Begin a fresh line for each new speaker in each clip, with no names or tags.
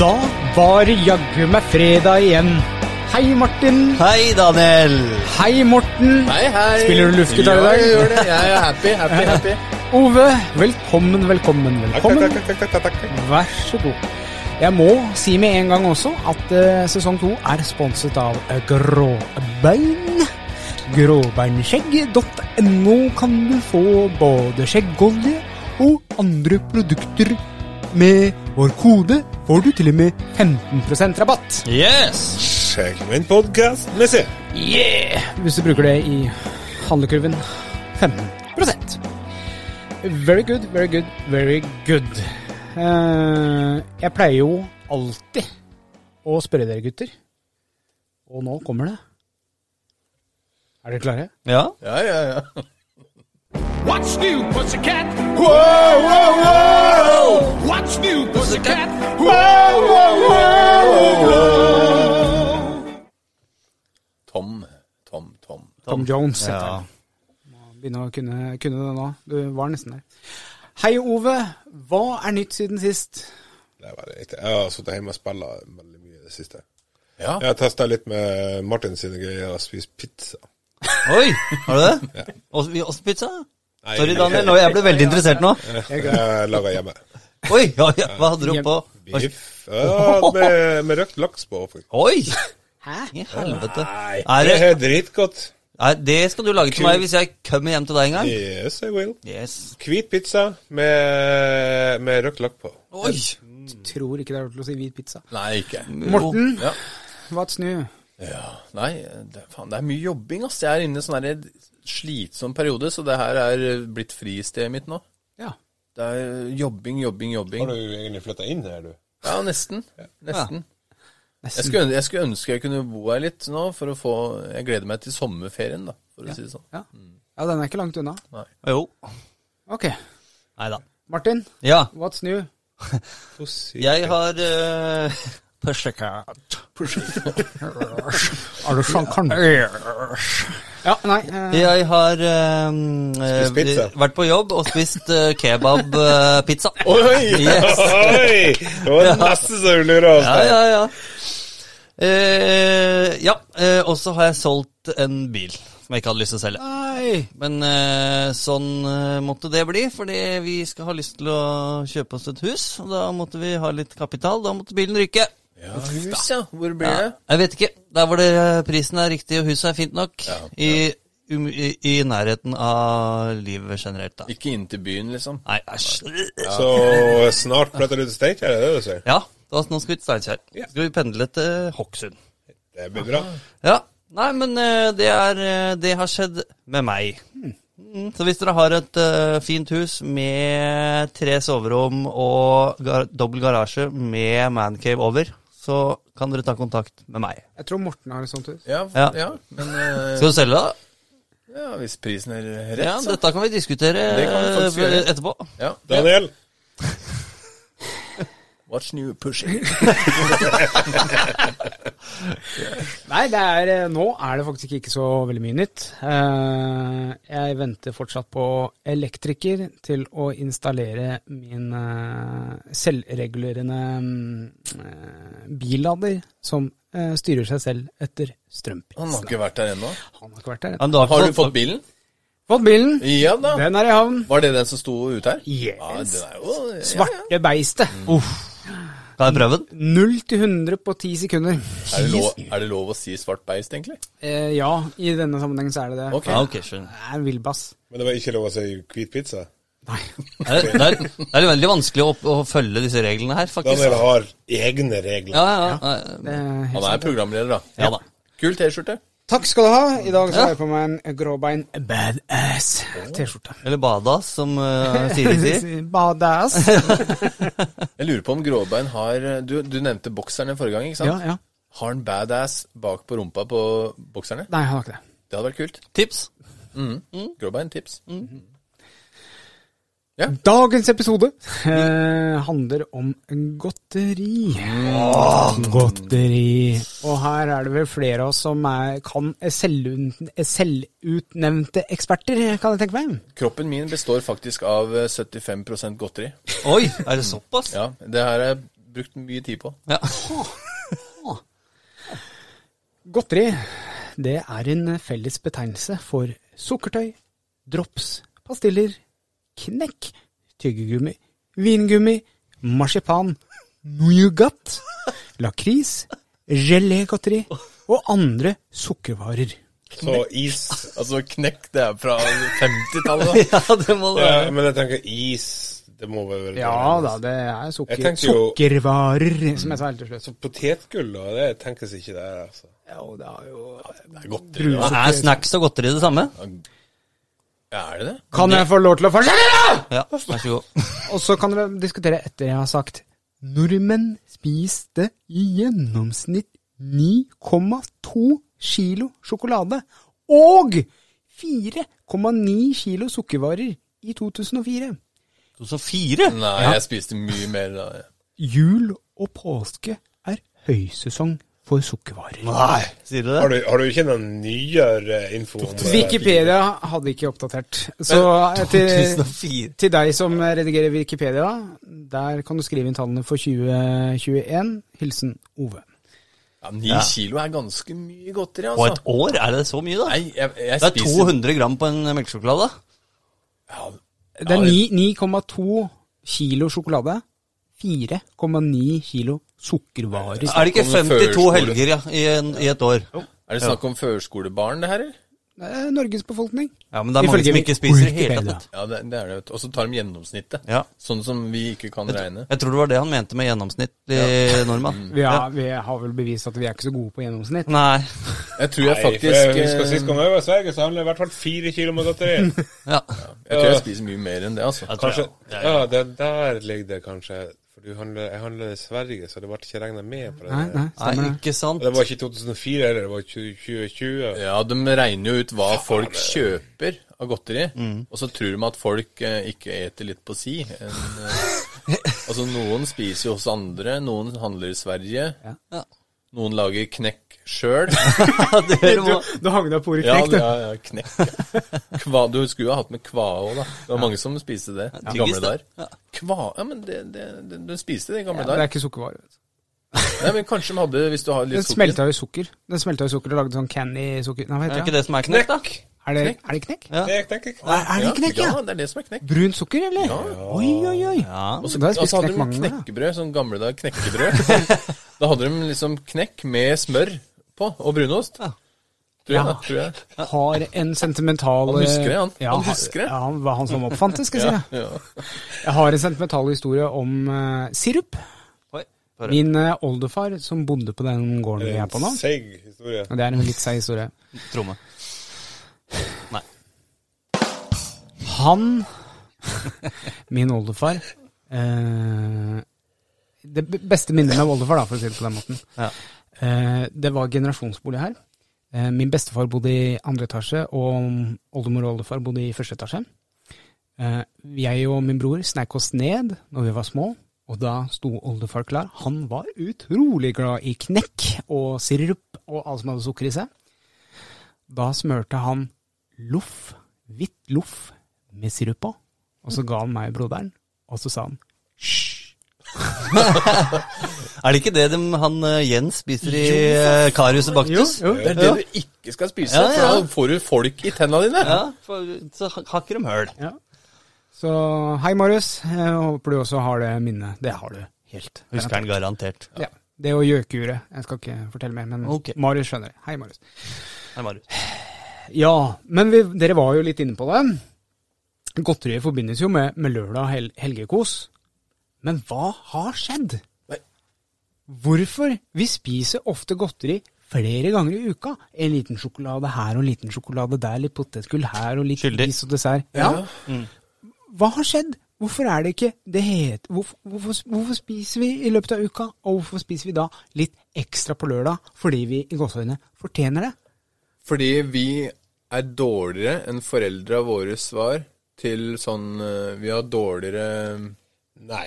Da var det jaggu meg fredag igjen. Hei, Martin.
Hei, Daniel!
Hei, Morten.
Hei, hei.
Spiller du luftgitar i dag?
Ja, jeg gjør det. Jeg er happy, happy, happy.
Ove, velkommen, velkommen, velkommen.
Takk, takk, takk, takk, takk, takk.
Vær så god. Jeg må si med en gang også at eh, sesong to er sponset av eh, Gråbein. Gråbeinskjegg.no kan du få både skjeggolje og andre produkter. Med vår kode får du til og med 15 rabatt.
Yes!
Sjekk min podcast, Messi.
Yeah! Hvis du bruker det i handlekurven 15 Very good, very good, very good. Eh, jeg pleier jo alltid å spørre dere gutter, og nå kommer det. Er dere klare?
Ja?
Ja, ja, ja.
What's new, pussycat?
Wow, wow, wow!
What's new, pussycat?
Wow, wow, wow, wow! Tom, Tom, Tom.
Tom Jones heter
Ja.
han. Begynner å kunne, kunne det nå. Du var nesten der. Hei, Ove. Hva er nytt siden sist?
Det var det ikke. Jeg har sittet hjemme og spilla veldig mye i det siste.
Ja.
Jeg har testa litt med Martin sine greier og spist pizza.
Oi, har du det? Også, vi- også pizza?
Nei,
Sorry,
ikke.
Daniel, nå- jeg ble veldig interessert nå.
Jeg laga hjemme.
Oi, ja, ja, hva hadde du på?
Biff. Ja, med, med røkt laks på. faktisk.
Oi!
Hæ?
I helvete.
Nei,
Er
det
det,
er dritgodt.
er, det skal du lage til meg hvis jeg kommer hjem til deg en gang.
Yes, I will.
Yes.
Hvit pizza med, med røkt lakk på.
Oi!
Tror ikke det er lov til å si hvit pizza.
Nei, ikke.
Morten,
Ja.
what's new?
Ja. Nei, det, faen, det er mye jobbing, ass. Jeg er inne i en sånn her slitsom periode, så det her er blitt fristedet mitt nå.
Ja.
Det er jobbing, jobbing,
Har
jobbing.
du egentlig flytta inn her, du?
Ja, nesten. Nesten. Jeg
Nesten.
skulle, ønske, jeg skulle ønske jeg kunne bo her litt nå, for å få Jeg gleder meg til sommerferien, da, for å si det sånn.
Ja. ja, den er ikke langt unna.
Jo.
Ok.
Nei da.
Martin,
Ja.
what's new?
Jeg har uh, Pussycat.
Er du sjankaren? Ja, nei. eh,
Jeg har ehm, eh,
Spist pizza.
vært på jobb og spist eh, kebabpizza.
Oi!
Yes.
Oi! Det var det neste som du lurer oss
Ja,
til.
ja, ja. Eh, ja, eh, og så har jeg solgt en bil som jeg ikke hadde lyst til å selge.
Nei.
Men eh, sånn eh, måtte det bli, fordi vi skal ha lyst til å kjøpe oss et hus. Og da måtte vi ha litt kapital. Da måtte bilen ryke.
Ja, hus, ja. Hvor blir det?
Jeg vet ikke. Der hvor det, prisen er riktig og huset er fint nok. I, um, i, I nærheten av livet generelt, da.
Ikke inn til byen, liksom.
Nei, æsj.
Så snart flytter du til Steinkjer, er det det du sier?
Ja, da, nå skal vi til Steinkjer.
Ja.
Skal vi pendle til Hokksund.
Det blir bra.
Ja. Nei, men eh, det, er, eh, det har skjedd med meg.
Hmm.
Mm, Så hvis dere har et eh, fint hus med tre soverom og gar dobbel garasje med mancave over, så kan dere ta kontakt med meg.
Jeg tror Morten har sånn et sånt hus.
Ja,
Ja.
ja. men eh,
Skal du selge, da?
ja, hvis prisen er
Ja,
rett, så.
Dette kan vi diskutere
Det kan vi faktisk
eh,
gjøre.
etterpå.
Ja.
Daniel,
Watch new pushing.
Nei, det er, eh, nå er det faktisk ikke så veldig mye nytt. Eh, Jeg venter fortsatt på elektriker til å installere min eh, selvregulerende mm, eh, billader som eh, styrer seg selv etter
Han har
strømprisen.
ikke vært der ennå.
Han har ikke vært der.
Men
ennå.
da
Har du fått bilen?
Fått bilen.
Ja da.
Den er i havn.
Var det den som sto ute her? Ja,
Yes.
den er jo ja, ja.
Svarte beistet. Uff.
Kan jeg prøve den?
Null til 100 på ti sekunder.
Er det, lov, er det lov å si svart beist, egentlig?
Eh, ja, i denne sammenhengen så er det det.
Ok.
Ja, ok, skjønner.
Det er en villbass.
men det var ikke lov å si hvit pizza?
Nei.
Det er, det er, det er veldig vanskelig å, opp- å følge disse reglene her, faktisk.
Daniel har egne regler.
Ja, ja, ja.
Det er Eh, helt
Han er programleder, da.
ja da.
Kul T-skjorte.
Takk skal du ha. I dag så har jeg på meg en gråbein badass T-skjorte.
Eller badas, som eh, Siri sier.
Badass.
Jeg lurer på om Gråbein har Du, du nevnte bokserne forrige gang, ikke sant?
Ja, ja.
Har han badass bak på rumpa på bokserne?
Nei, han har ikke det.
Det hadde vært kult.
Tips.
Gråbein, tips.
Dagens episode eh, handler om godteri. Godteri. Og her er det vel flere av oss som er, kan selvutn- selvutnevnte eksperter, kan jeg tenke meg.
Kroppen min består faktisk av eh, 75 godteri.
Oi, er det såpass?
Ja, det her har jeg brukt mye tid på.
Ja.
Godteri det er en felles betegnelse for sukkertøy, drops, pastiller, knekk, tyggegummi, vingummi, marsipan, nougat, lakris, gelégodteri og andre sukkervarer.
Så is
Altså, knekk, det er fra 50-tallet, da.
ja, det må det være.
Ja, men jeg tenker is Det må vel være
Ja da, det er
Jeg
sukker,
tenker jo-
sukkervarer, som jeg sa helt til slutt.
Så potetgull, da, det tenkes ikke der, altså.
Ja, og det er jo
Godteri, da.
Er snacks og godteri det samme?
Ja, er det det?
Kan jeg få lov til å fortsette? da?
Ja, vær så god.
Og så kan dere diskutere etter jeg har sagt Nordmenn spiste i gjennomsnitt 9,2 kilo sjokolade og 4,9 kilo sukkervarer i 2004.
2004?
Nei, jeg spiste mye mer da.
Jul og påske er høysesong for sukkervarer.
Nei, sier du det?
Har du, har du ikke noen nyere info om det?
Wikipedia hadde ikke oppdatert. Så eh, til,
2004.
til deg som redigerer Wikipedia, der kan du skrive inn tallene for 2021. Hilsen Ove.
Ja, Ni kilo er ganske mye godteri,
På et
altså.
år? Er det så mye, da?
Nei, jeg, jeg
det er
spiser
200 gram på en melkesjokolade.
Ja,
Det er ni- 9,2 kilo sjokolade. 4,9 kilo sukkervarer.
Er det ikke
Snakker om
52
førskole.
helger ja, i, en, i et år?
Er det snakk om førskolebarn, det her, eller?
Eh, Norges befolkning.
Ja, men det er mange
Ifølge
som ikke spiser i hele
Wikipedia.
tatt.
Ja, det, det er det. vet du. Og så tar de gjennomsnittet.
Ja.
Sånn som vi ikke kan regne.
Jeg tror det var det han mente med gjennomsnittlig nordmann.
Vi har, vi har vel bevist at vi er ikke så gode på gjennomsnitt.
Nei.
Jeg tror jeg
Nei, for
faktisk
jeg husker
eh,
sist gang jeg var i Sverige, så handlet jeg i hvert fall fire kilo med godteri.
Ja.
eh, Jeg tror jeg spiser mye mer enn det, altså.
Jeg tror
Kanskje,
jeg.
ja, det der ligger det kanskje. For du handler, jeg handler i Sverige, så det ble ikke regnet med på det.
Nei, nei, stemmer
Nei,
det.
ikke sant?
Og det var ikke i 2004 heller, det var i 2020.
Ja, de regner jo ut hva folk kjøper av godteri,
Mm.
og så tror de at folk eh, ikke eter litt på si. En, eh, altså, noen spiser jo hos andre, noen handler i Sverige,
Ja.
noen lager knekk sjøl.
Ja, det gjør man.
Du, du hang deg på ordet
Ja,
knekt, du.
ja, ja, knekk. Kva, du skulle jo ha hatt med kva òg, da. Det var mange som spiste det i gamle
tyggis, det.
dager. Kva Ja, men det, det, det, de spiste det i gamle
Det er
dager.
ikke sukkervarer. vet du.
Nei, men kanskje de hadde, hvis du har
Den
litt sukker
smelta jo i sukker. Den smelta i sukker og lagde sånn candy-sukker. Nei, hva
Er det
heter
ikke
det?
det som er knekt, da?
Er det, er det knekk?
Ja.
Det er knekk, knekk.
Er, er det knekk, ja?
Ja, det er det som er knekk.
Brunt sukker, eller? Oi, oi, oi.
Ja.
Og så
Da har jeg
og
spist
så hadde
knekk
de
mange ganger.
knekkebrød, sånn gamle dager knekkebrød. da hadde de liksom knekk med smør på, og brunost.
Ja.
Tror jeg,
Ja.
da, tror jeg.
Har en sentimental eh,
Han husker det, han.
Ja,
Han husker det.
Ja, han var han som oppfant det, skal jeg si. deg.
Ja.
Jeg har en sentimental historie om eh, sirup.
Oi, bare-
Min eh, oldefar som bodde på den gården vi er på nå.
Eh, Seig historie.
Og Det er en litt seig historie.
Tromme. Nei.
Han, min oldefar eh, Det b- beste minnet med oldefar, da, for å si det på den måten,
Ja.
eh, det var generasjonsbolig her. Eh, min bestefar bodde i andre etasje, og oldemor og oldefar bodde i første etasje. Eh, jeg og min bror snek oss ned når vi var små, og da sto oldefar klar. Han var utrolig glad i knekk og sirup og alt som hadde sukker i seg. Da smørte han loff, hvitt loff, med sirup på. Og så ga han meg broderen, og så sa han hysj.
Er det ikke det dem, han eh, Jens spiser i eh, Karius og Baktus?
Det er det du ikke skal spise,
Ja, ja.
for da får du folk i tenna dine.
Ja, for, så ha- hakker de høl.
Ja. Så hei, Marius. Jeg håper du også har det minnet. Det har du helt.
Husker han garantert.
Ja. Det og gjøkeuret. Jeg skal ikke fortelle mer, men
Ok.
Marius skjønner det. Hei, Marius.
Her, Marius.
Ja, men vi, dere var jo litt inne på det. Godteriet forbindes jo med, med lørdag og hel, helgekos. Men hva har skjedd?
Nei.
Hvorfor? Vi spiser ofte godteri flere ganger i uka. En liten sjokolade her og en liten sjokolade der, litt potetgull her og litt
Skyldig.
is og dessert. Ja. Hva har skjedd? Hvorfor er det ikke det het, hvorfor, hvorfor, hvorfor spiser vi i løpet av uka, og hvorfor spiser vi da litt ekstra på lørdag fordi vi i gåseøynene fortjener det?
Fordi vi er dårligere enn foreldra våre svar til sånn eh, Vi har dårligere eh,
Nei.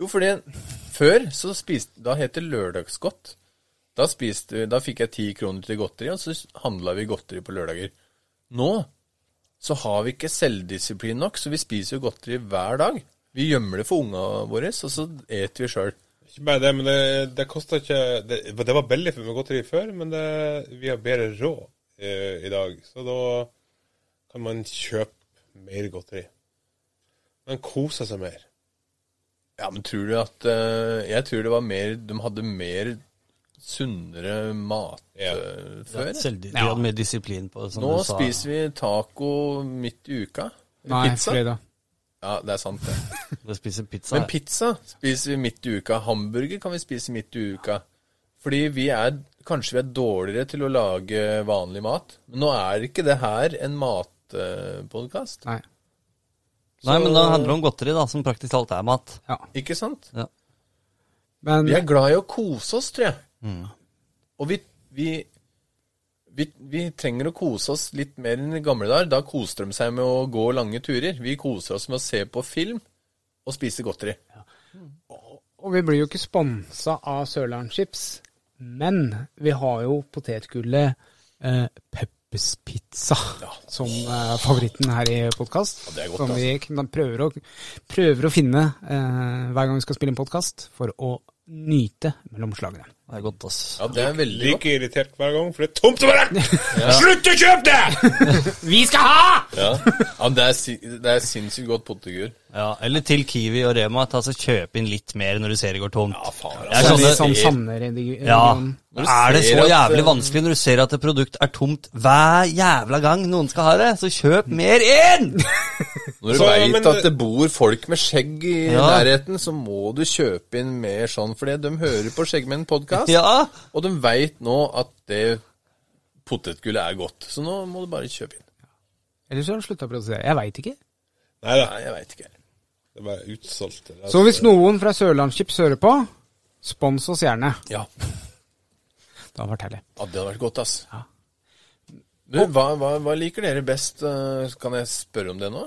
Jo, fordi før så spiste Da het det lørdagsgodt. Da, spiste, da fikk jeg ti kroner til godteri, og så handla vi godteri på lørdager. Nå så har vi ikke selvdisiplin nok, så vi spiser jo godteri hver dag. Vi gjemmer det for unga våre, og så eter vi sjøl.
Ikke bare det, men det, det kosta ikke det, det var billig med godteri før, men det, vi har bedre råd eh, i dag. Så da kan man kjøpe mer godteri. Man koser seg mer.
Ja, men tror du at eh, Jeg tror det var mer De hadde mer sunnere mat
Ja.
eh, før.
Selvdi- De hadde mer disiplin på det. som
Nå
du sa.
spiser vi taco midt i uka.
Nei,
Pizza.
fredag.
Ja, det er sant, det.
Du spiser pizza.
Men pizza spiser vi midt i uka. Hamburger kan vi spise midt i uka. Fordi vi er kanskje vi er dårligere til å lage vanlig mat. Men nå er ikke det her en matpodkast,
Nei.
Nei, men da handler det om godteri, da, som praktisk talt er mat.
Ja.
ikke sant?
Ja.
Men
Vi er glad i å kose oss, tror jeg. Og vi, vi, vi, vi trenger å kose oss litt mer enn i gamle dager. Da koste de seg med å gå lange turer. Vi koser oss med å se på film og spise godteri.
Og vi blir jo ikke sponsa av Sørlandschips, men vi har jo potetgullet eh, Peppers Pizza som eh, favoritten her i podkast.
det er godt,
som
altså.
vi kn- prøver å, prøver å finne eh, hver gang vi skal spille en podkast, for å nyte mellom slagene.
Det er godt, ass.
Ja, det er veldig godt.
Like irritert hver gang, for det er tomt overalt! Slutt å kjøpe det!
Vi skal ha!
Ja. Ja, men det, er, si- det er sinnssykt godt potetgull.
Ja, eller til Kiwi og Rema, ta så kjøp inn litt mer når du ser det går tomt. Ja,
faen,
Det er
Sånn,
sånne,
sånn sanner i de-
ja.
regionen.
Når du
Er det
ser
så
at,
jævlig
eh,
vanskelig når du ser at et produkt er tomt hver jævla gang noen skal ha det? Så kjøp mer inn!
Når du
Så,
vet
men-
at det bor folk med skjegg i
Ja.
nærheten, så må du kjøpe inn mer sånn, for de hører på Skjeggmenn-podkast,
Ja.
og de veit nå at det potetgullet er godt. Så nå må du bare kjøpe inn.
Eller så har de slutta å produsere. Jeg veit ikke.
Nei da,
Nei, jeg veit ikke.
det er bare utsolgt. Det er
Så hvis noen fra Sørlandschips hører på, spons oss gjerne.
Ja, ja
Det hadde vært herlig.
det hadde vært godt, ass. Du, hva, hva, hva liker dere best? eh, Kan jeg spørre om det nå?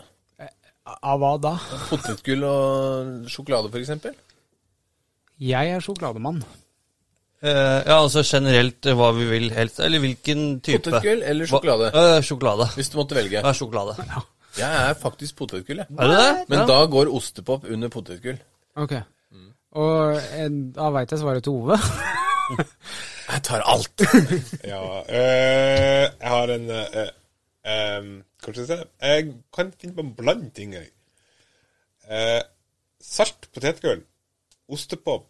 Av hva da?
Potetgull og sjokolade, for eksempel?
Jeg er sjokolademann.
Eh, ja, altså generelt eh, hva vi vil helst. Eller hvilken type.
Potetgull eller
Hva-
sjokolade?
Eh, sjokolade.
Hvis du måtte velge.
Ja, sjokolade.
Jeg er faktisk potetgull, jeg.
Er det det?
Men
ja.
da går ostepop under potetgull.
Ok.
Mm.
Og eh, da veit jeg svaret til Ove.
Jeg tar alt.
Ja, øh, jeg har en øh, øh, Kanskje se Jeg kan finne på en blant ting, jeg. Eh, salt potetgull, ostepop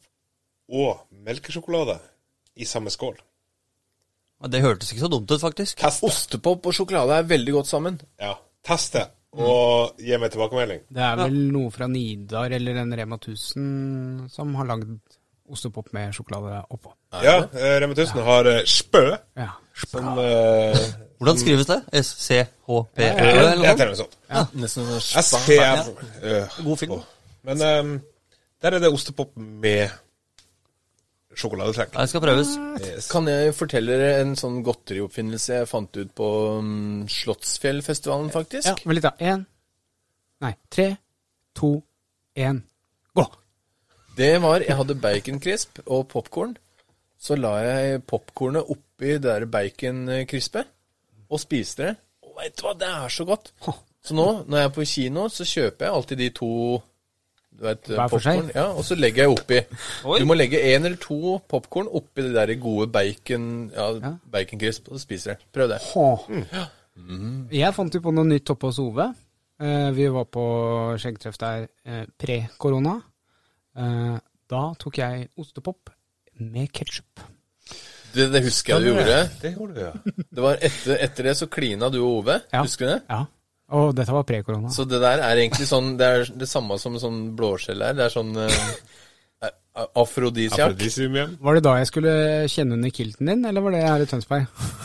og melkesjokolade i samme skål.
Ja, Det hørtes ikke så dumt ut, faktisk.
Test det.
Ostepop og sjokolade er veldig godt sammen.
Ja, test det, og gi meg tilbakemelding.
Det er vel noe fra Nidar eller en Rema 1000 som har lagd ostepop med sjokolade oppå.
Ja, eh, Rema 1000 har eh, spø.
Ja.
Som eh,
Hvordan skrives det? SCHPØ E, eller noe
Jeg
sånt?
tar noe sånt.
Nesten sånn
SPM. Eh,
God film.
Men eh, der er det ostepop med sjokoladetrekk.
Nei, Det skal prøves.
Kan jeg fortelle dere en sånn godterioppfinnelse jeg fant ut på mm, Slottsfjellfestivalen, faktisk?
ja. Vent litt, da. Én Nei, tre, to, én, gå!
Det var Jeg hadde baconcrisp og popkorn. Så la jeg popkornet oppi det der baconkrispet og spiste det. Og vet du hva, det er så godt! Så nå, når jeg er på kino, så kjøper jeg alltid de to du vet,
Hver for seg?
popcorn, ja, og så legger jeg oppi.
Oi.
Du må legge én eller to popkorn oppi det der gode bacon, ja, baconkrisp, og så spiser jeg. Prøv det.
Hå.
Mm.
Jeg fant jo på noe nytt oppe hos Ove. Eh, vi var på skjeggtreff der eh, pre-korona. Eh, da tok jeg ostepop med ketsjup.
Det, det husker jeg du gjorde.
Det gjorde du, ja.
Det var etter, etter det så klina du og Ove,
Ja.
husker du det?
Ja. Og dette var pre-korona.
Så det der er egentlig sånn, det er det samme som sånn blåskjell er. Det er sånn eh, Afrodisiak.
Afrodisium.
Var det da jeg skulle kjenne under kilten din, eller var det her i Tønsberg?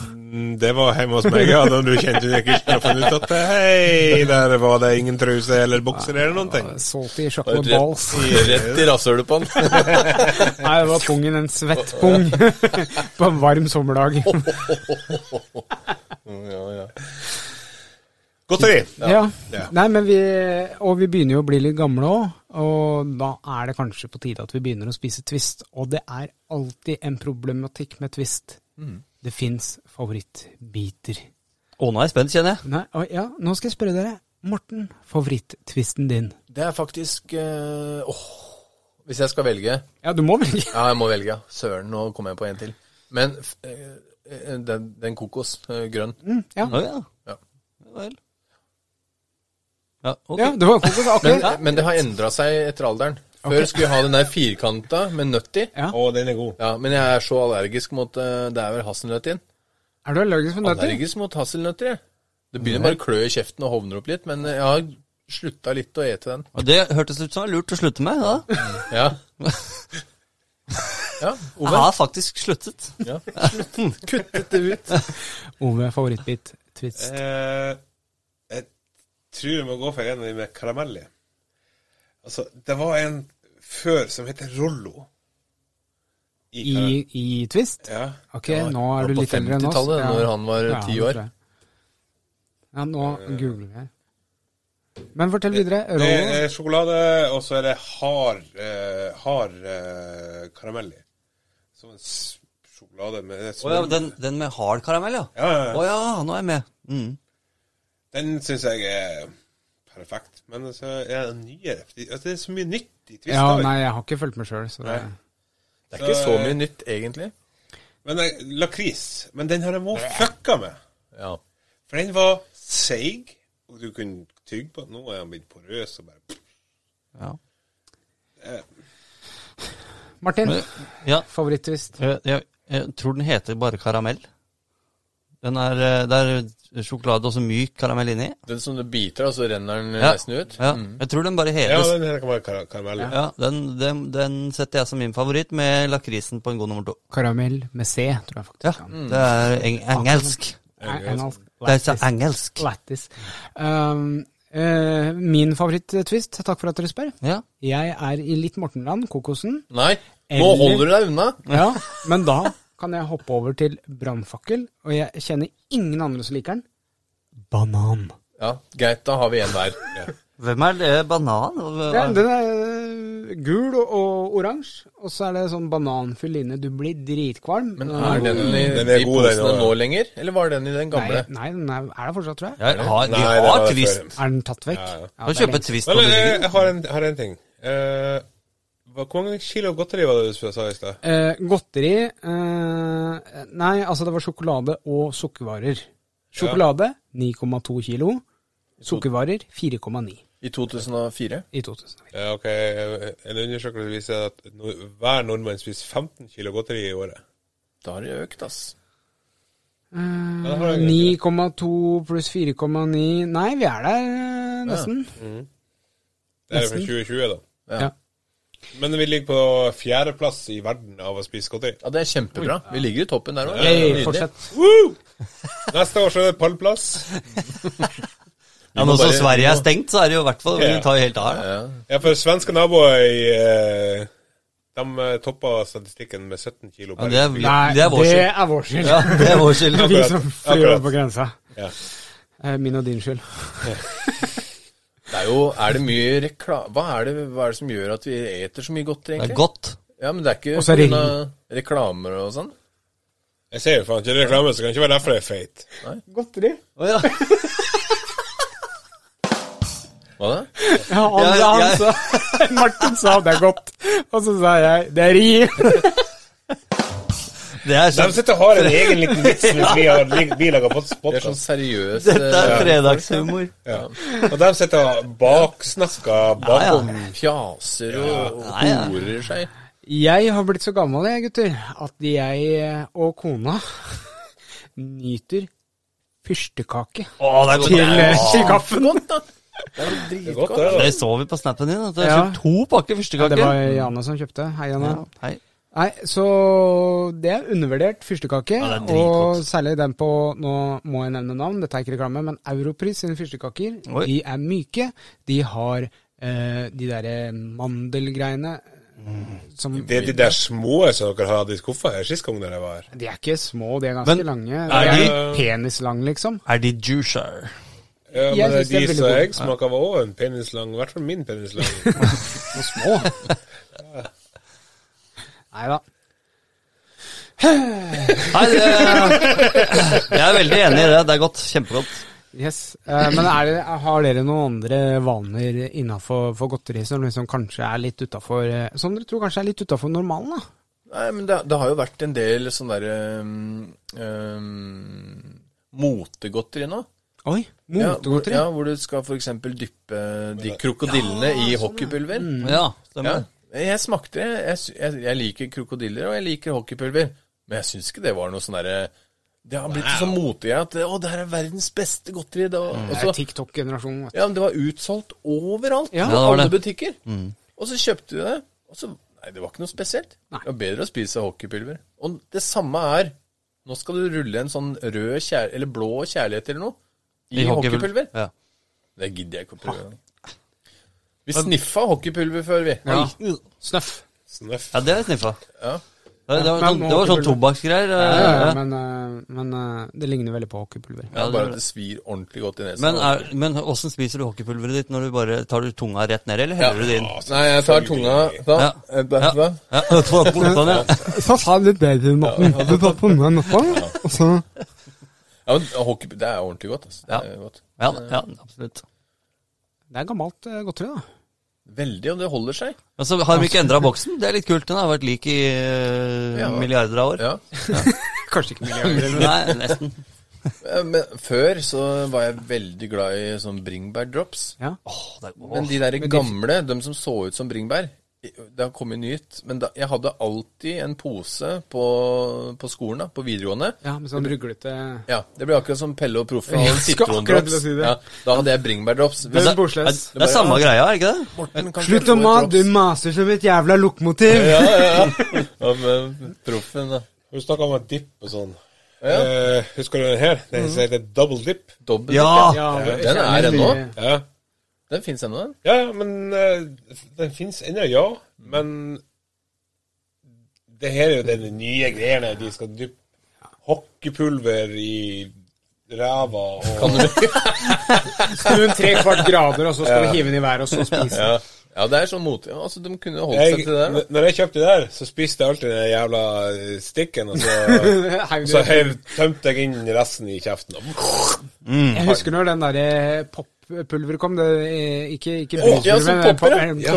Mm, Det var hjemme hos meg, ja. Da du kjente du ikke og funnet ut at hei, der var det ingen truse eller bokser eller noen ting.
Salty
Rett,
chocolate balls.
rett i rasshølet på han.
Nei, det var pungen, en svett pung på en varm sommerdag.
ja, ja.
Godteri.
Ja.
Ja.
Nei, men vi, og vi begynner jo å bli litt gamle òg, og da er det kanskje på tide at vi begynner å spise Twist. Og det er alltid en problematikk med Twist. Det fins favorittbiter.
Å, nå er jeg spent, kjenner jeg.
Nei, å, ja, nå skal jeg spørre dere. Morten, favoritt-twisten din?
Det er faktisk eh, Åh. Hvis jeg skal velge
Ja, du må velge.
Ja, jeg må velge. ja. Søren, nå kom jeg på en til. Men f- eh, eh, den, den kokos, eh, grønn.
Ja,
Å ja.
Ja.
Ja vel. Ja, ok.
ja det var kokos,
Men,
ok.
men det har endra seg etter alderen. Før skulle jeg ha den der firkanta med nøtt i.
Ja.
Å, den er god.
Ja, men jeg er så allergisk mot eh, Det er vel hasselnøtt i den?
Er du allergisk mot nøtter?
Allergisk mot hasselnøtter, jeg. Det begynner bare å klø i kjeften og hovner opp litt, men jeg har slutta litt å ete den.
Og det hørtes ut som det var lurt å slutte med. da.
Ja. Ja,
Jeg
Ove.
har faktisk sluttet.
Ja. Kuttet det ut.
Ove, favorittbit-twist.
Eh, jeg tror jeg må gå for en av de med karamell i. Altså, det var en før som het Rollo. I,
I,
karamell.
I Twist?
Ja.
Ok, nå er du
på
litt eldre enn oss.
50-tallet, når han var
Ja,
10
det
år.
tror jeg. Ja, nå
Eh.
googler jeg. Men fortell videre.
Det
Rollo.
er sjokolade, og så er det hard, eh, hard eh, karamell i. Som en s- sjokolade med
Å ja, den, den med hard karamell, ja.
Ja, ja, ja.
Å ja, nå er jeg med. Mm.
Den syns jeg er perfekt. Men altså, er det nyere fordi, altså, Det er så mye nytt i Twist.
Ja,
da.
nei, jeg har ikke fulgt med sjøl, så det
Nei.
Det er ikke så mye nytt, egentlig.
Men eh, lakris Men den har jeg også fucka med.
Ja.
For den var seig, og du kunne tygge på den. Nå er den blitt porøs og bare
Ja.
Martin,
ja.
favoritt-twist?
Jeg, jeg, jeg tror den heter bare karamell. Den er, eh, Det er sjokolade og så myk karamell inni.
Den som du biter av, så renner den
Ja.
nesten ut.
Ja. Jeg tror den bare
Ja,
heves.
den her kan være kar karamell.
Ja, den, den, den setter jeg som min favoritt, med lakrisen på en god nummer to.
Karamell med C, tror jeg
Ja,
faktisk.
Det er eng engelsk.
Eh,
Engelsk.
Det er så engelsk.
Lættis. Um, eh, min favoritt-twist, takk for at dere spør.
Ja.
Jeg er i litt Mortenland, kokosen.
Nei, nå
Eller-
holder du deg unna!
Ja, men da kan jeg hoppe over til brannfakkel, og jeg kjenner ingen andre som liker den. Banan.
Ja, Greit, da har vi en hver. Ja.
Hvem er det? Banan? Hva-
Ja, den er øh, gul og, og oransje, og så er det sånn bananfyll inne. Du blir dritkvalm.
Men
Nei,
er den i
Mm. Den er
de
god, den
posene
også.
nå lenger, eller var den i den gamle?
Nei, den er, er der fortsatt, tror jeg.
Jeg har, vi
Nei, det
har
var det
twist.
før.
Er den tatt vekk?
Ja, ja.
Ja,
Kan
det er
kjøpe
lenge.
twist på
Men eh,
butikken.
jeg har en, har en ting. Eh, hva- hvor mange kilo godteri var det du sa i stad?
Eh, godteri eh, Nei, altså det var sjokolade og sukkervarer. Sjokolade 9,2 kilo. Sukkervarer 4,9
I 2004?
i 2004.
Ja, ok. eh, En undersøkelse viser at no- hver nordmann spiser 15 kilo godteri i året.
Da har det økt, ass.
Ja, det har jeg ikke.
9,2 pluss 4,9 Nei, vi er der eh, nesten.
Det er jo fra
nesten.
2020, da.
Ja.
Ja.
Men vi ligger på fjerdeplass i verden av å spise godteri.
Ja, det er kjempebra. Vi ligger i toppen der òg.
Hey, fortsett.
Woo! Neste år så er det pallplass.
Ja, nå som
bare-
Sverige er stengt, så er det jo i hvert fall Vi
Ja.
tar jo helt av. her, da.
Ja.
Ja, for svenske naboer i eh, De eh, toppa statistikken med 17 kilo
Ja,
per
det,
innbygger.
er, det er vår skyld.
er vår skyld.
Ja, det er vår skyld.
Vi
Akkurat,
som flyr
akkurat.
over på grensa.
Ja.
Eh, Min og din skyld.
Det er jo Er det mye reklame hva, er det- hva er det som gjør at vi eter så mye
Det
godteri,
er
egentlig?
godt.
Ja, men det er ikke
Og så er det
på grunn av reklamer og sånn?
Jeg ser jo faen ikke reklame, så det kan ikke være derfor jeg er feit.
Godteri?
Å, ja.
Hva da?
Ja, han,
Jeg-
han
jeg-
sa Martin sa det er godt, og så sa jeg det er ri.
Det er
De
sånn,
sitter og har en egen liten vits mens vi har lig- vi lager
Det er sånn
podkast.
seriøs
dette er
eh,
fredagshumor.
Ja. Og de sitter og baksnakker bakom.
fjaser og og
Nei, ja.
horer seg.
Jeg har blitt så gammel, jeg, gutter, at jeg eh, og kona nyter fyrstekake
Å, det er
til,
godt.
til kaffen.
Godt, da! Det er vel
Det er godt,
dritgodt.
det. da.
eh, Det så vi på snappen din. At du har
Ja.
kjøpt to pakker
Det
fyrstekake.
var Jane som kjøpte. Hei, Jane.
ja, hei.
Nei, så det er undervurdert fyrstekake.
Ja, det er dritgodt.
og særlig den på Nå må jeg nevne navn, dette er ikke reklame, men Europris sine fyrstekaker.
Oi.
De er myke. De har eh, de derre mandelgreiene som
Det er de der små som dere hadde i skuffa her sist gang dere var her.
De er ikke små, de er ganske
Men
lange. De
er
er,
de-
penislang, liksom.
Er de juicer?
Ja,
Jeg
men
synes det
de
er veldig
som
god.
jeg smaka, var òg en penis lang. I hvert fall min penis lang.
Og små. Nei da.
Nei, det, jeg er veldig enig i det. Det er godt. Kjempegodt.
Yes. Eh, men er det, har dere noen andre vaner innafor godteri som liksom kanskje er litt utafor eh, Som dere tror kanskje er litt utafor normalen, da?
Nei, men det, det har jo vært en del sånn derre um, um, motegodteri nå.
Oi,
Ja, hvor,
motegodteri?
ja, hvor du skal for eksempel dyppe de krokodillene
sånn,
i hockeypulver.
Ja,
Ja,
stemmer.
jeg smakte det. Jeg, sy- jeg, jeg liker krokodiller, og jeg liker hockeypulver. Men jeg syns ikke det var noe sånn derre Det har blitt så motegreie at Å, det her er verdens beste godteri. Det, var- og
Det
så-
er TikTok-generasjonen. vet du.
ja, men det var utsolgt overalt.
Ja,
Ja,
det var
alle
det.
butikker. Og så kjøpte vi det, og så Nei, det var ikke noe spesielt.
Nei.
Det var bedre å spise hockeypulver. Og det samme er Nå skal du rulle en sånn rød kjær, eller blå kjærlighet eller noe i, hockeypulver.
Ja.
Det gidder jeg ikke å prøve. Vi sniffa hockeypulver før, vi.
Ja. Snøff.
Snøff.
ja, det har jeg sniffa.
Ja.
Det, det, var
Men
sånn, det var sånn tobakksgreier.
Ja, ja, ja,
eh,
men, eh, men eh, det ligner veldig på hockeypulver.
Ja,
det-
bare at det svir ordentlig godt i nesen.
Men, er, men hvordan spiser du hockeypulveret ditt? Når du bare Tar du tunga rett ned, eller heller du det inn?
Nei, jeg tar tunga sånn.
Ja.
Eh, blæ- blæ.
Ja, sånn, ja.
Så sa du det til Morten. Du tar på meg noe, og så
Ja, men hockey, Det er ordentlig godt. Altså. Det
Ja.
er godt.
Ja, ja, absolutt.
Det er gammelt eh, godteri, da.
Veldig, og det holder seg.
Og så har de ikke endra boksen. Det er litt kult. Den har vært lik i eh,
Ja.
milliarder av år.
Ja.
Kanskje ikke milliarder.
Nei, nesten.
Eh, Men før så var jeg veldig glad i sånn bringebærdrops.
Ja.
Åh, det er,
Men
åh.
de der
Men de-
gamle, de som så ut som bringebær Det har kommet nytt. Men da, jeg hadde alltid en pose på, på skolen, da, på videregående.
ja, med sånn ruglete
Ja, Det ble akkurat som Pelle og Proffe og
Jeg skal akkurat til
sitrondrops.
å si det.
ja, da hadde jeg bringebærdrops.
Det er
Hvis-
Borsless.
det er samme greia, er ikke det?
Morten, kan
Slutt å
ikke jeg få
mase,
et
du
drops?
maser som et jævla lokomotiv!
Ja, ja, ja. ja men proffen, da.
Har du snakka om en dipp og sånn?
Ja.
Eh, husker du den her? Den
Mhm.
som heter double dip?
Dobbelt
Ja.
den er ennå.
Ja,
Den fins ennå, den.
ja ja, men eh, den fins ennå, ja. Men det her er jo den nye greiene. De skal dyppe hockeypulver i ræva og
Snu den tre kvart grader, og så skal du hive den i været, og så spise den.
Ja. ja, det er sånn mot... Ja, altså, de kunne holdt seg
jeg,
til det. da.
Når jeg kjøpte det der, så spiste jeg alltid den jævla eh, stikken, og så
Hei,
Så
du.
hev, tømte jeg inn resten i kjeften.
Jeg husker når den derre poppulveret kom. Det, eh, ikke ikke
Å, ja,
bruspulver,
som
men
popper,
pop-
ja. Ja,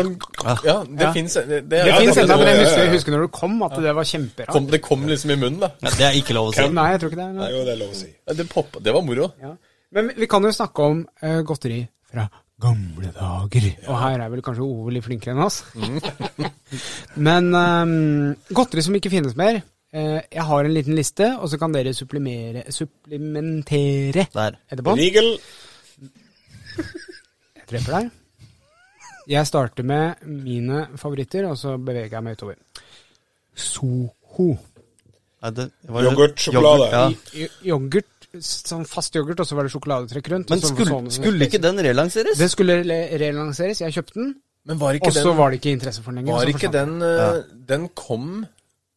ja det
Ja.
fins det,
Det
Ja,
finnes fins
det-
ennå, men jeg
ja, ja,
husker,
ja.
jeg husker når du kom, at det var kjemperart.
kom, det kom liksom i munnen, da.
Ja, det er ikke lov å si.
Nei, jeg tror ikke det.
Det
Nei.
er jo det er lov å si.
Ja, Det, poppa, det var moro.
Ja. Men vi- vi kan jo snakke om eh, godteri fra gamle dager. Og her er vel kanskje Ove litt flinkere enn oss. Men ehm, godteri som ikke finnes mer. eh, jeg har en liten liste, og så kan dere supplimere, supplementere
Der.
etterpå.
Rigel
Jeg treffer deg. Jeg starter med mine favoritter, og så beveger jeg meg utover. Soho.
Nei, det var-
Yoghurt, sjokolade.
Ja.
I- Yoghurt, sånn fast yoghurt, og så var det sjokoladetrekk rundt.
Men
og så
skulle,
sånn-
skulle ikke den relanseres?
Det skulle re- relanseres, jeg kjøpte den,
Men var ikke
og så
den,
var det ikke sånn interesse for den lenger. og
var
så
ikke
forsvant
den, eh, den kom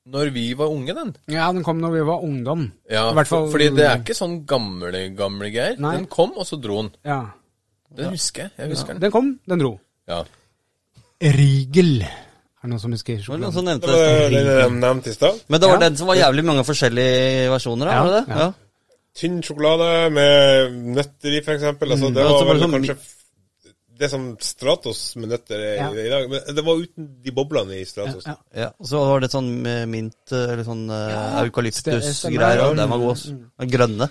når vi var unge, den.
den. Ja, den kom når vi var ungdom.
Ja,
I hvert fall-
Fordi det er ikke sånn gamle, gamle greier.
Nei.
Den kom, og så dro den.
Ja.
Den husker jeg. Jeg husker den.
Den kom, den dro.
Ja.
Rigel. Er det noen som husker
Det var noen
sjokoladen?
som nevnte
det var
det.
den jeg nevnte i stad.
Men det var
Ja.
den som var jævlig mange forskjellige versjoner av,
Ja,
var det det?
ja.
Ja.
Tynn sjokolade med nøtter i, for eksempel. Altså, det
Mm, altså,
var vel
bare sånn-
kanskje f- det som Stratos med nøtter er
Ja.
i dag. Men det var uten de boblene i Stratos.
Ja, ja.
Ja, og så var det sånn eh, mint eh, eller sånn eh, eukalyptus-greier.
stemmer. Mm.
og Den var god, ass. Den grønne.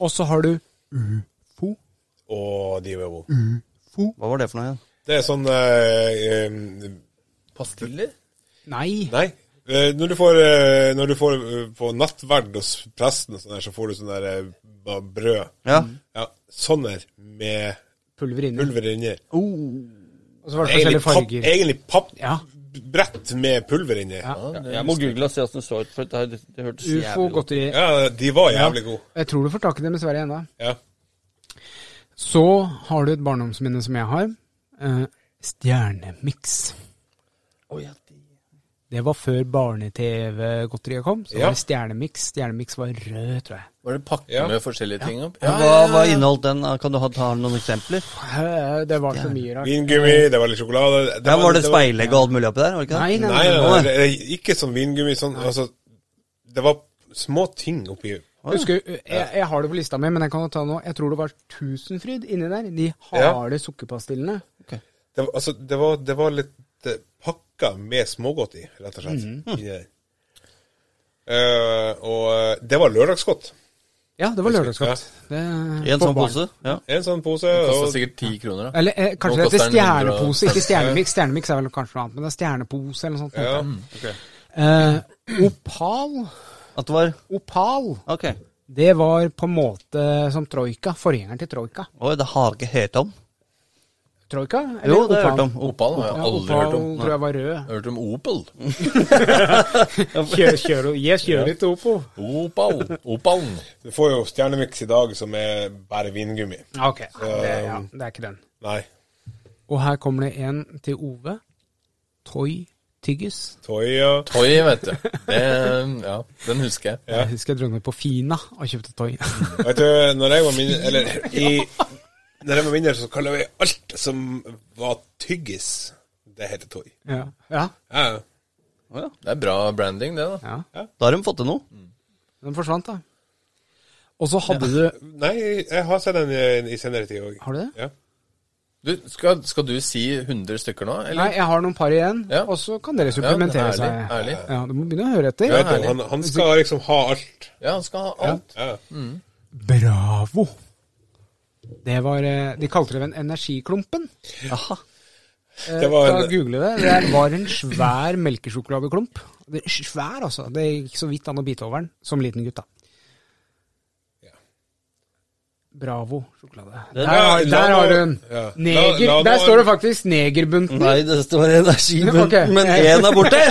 Og så har du ufo.
Og de var gode.
Mm. Hva var det for noe igjen?
Det er sånn eh, eh,
Pastiller?
Nei.
Nei. Eh, Når du får, eh, når du får eh, på nattverd hos
Mm.
presten, og sånn her, så får du sånn der eh, ba- brød.
Ja.
Ja, sånne med
pulver inni.
Pulver inni.
Og så var det
Egentlig
forskjellige
papp-
farger.
Egentlig
Ja.
pappbrett med pulver inni. Ja.
Ja, det
Jeg må google og se åssen det så ut, for det, har- det hørtes så
Ufo,
jævlig ut.
godteri.
de var jævlig gode.
Jeg tror du får tak i dem i Sverige ennå.
Ja.
Så har du et barndomsminne som jeg har. Eh, Stjernemiks. Det var før barne-TV-godteriet kom. Så
Ja.
var det Stjernemiks. Stjernemiks var rød, tror jeg.
Var det pakke
Ja.
med forskjellige ting opp?
Ja, Hva, hva inneholdt den? Kan du ha ta noen eksempler?
Eh, Det var så mye rart.
Vingummi, det var litt sjokolade det
Der var det
var-
speilegg og alt mulig oppi der? var det ikke det?
Nei, nei,
Nei,
nei.
nei, nei, det er ikke sånn vingummi. Sånn, altså, det var små ting oppi
Husker, jeg, jeg har det på lista mi, men jeg kan jo ta det nå. Jeg tror det var Tusenfryd inni der. De
Ja.
harde sukkerpastillene.
det, var- altså, det, var, det var litt eh, pakka med smågodt i, rett og slett. inni der. Eh, og eh, det var lørdagsgodt.
Ja, det var lørdagsgodt. Det,
I en
for
sånn
barn.
pose? Ja.
En sånn pose.
Det kosta
Og,
sikkert ti kroner, da.
Eller eh, kanskje
Nå
det heter
koster den 100 og-
stjernepose, ikke stjernemiks. Stjernemiks er vel kanskje noe annet, men det er stjernepose eller noe sånt.
ja,
heter det.
ok.
Eh, opal
At det var
Opal,
Ok.
det var på en måte som Troika. Forgjengeren til Troika.
Oi, det har jeg ikke hørt om.
Troika? eller
Jo, det har
Opal?
jeg hørt om.
Opal har jeg
Ja,
aldri
Opal
hørt om.
tror jeg var rød.
Jeg har hørt om Opel.
Kjør, kjør, jeg kjører litt Opal.
Opal. Opalen.
Du får jo Stjernemiks i dag som er bare vingummi.
Ok, det, ja, det er ikke den.
Nei,
Og her kommer det en til Ove. Toy Tyggis.
Toya
Toy, vet du. Det, ja, den husker jeg.
Jeg husker jeg drømte på Fina og kjøpte toy.
Vet du, når jeg var mindre Eller i Når jeg var mindre, så kalte vi alt som var tyggis, det heter toy.
ja. ja,
Ja, ja.
Det er bra branding, det, da.
ja.
Da har de fått til noe.
Den forsvant, da. Og så hadde du
Nei, jeg har sett den i, i senere tid òg.
Har du det?
Ja.
Du, skal, skal du si 100 stykker nå,
Nei,
eller?
jeg har noen par igjen,
Ja.
og så kan dere
Ja, det
supplementere
er
seg.
ærlig, ærlig.
Ja, Du må begynne å høre etter.
Jeg vet det, han, han skal liksom ha alt.
Ja, han skal ha alt.
Ja.
Bravo! Det var eh, De kalte det vel en energiklumpen.
Jaha.
Eh,
Det var
da
en-
google det. Det er- var en svær melkesjokoladeklump. Det, svær, altså. Det gikk så vidt an å bite over den som liten gutt, da. Bravo sjokolade. Der, har-
la
der
nå-
har du den.
ja.
Neger.
La- la nå-
der står det faktisk Negerbunten.
Nei, det står energibunten,
Ok.
men én er borte!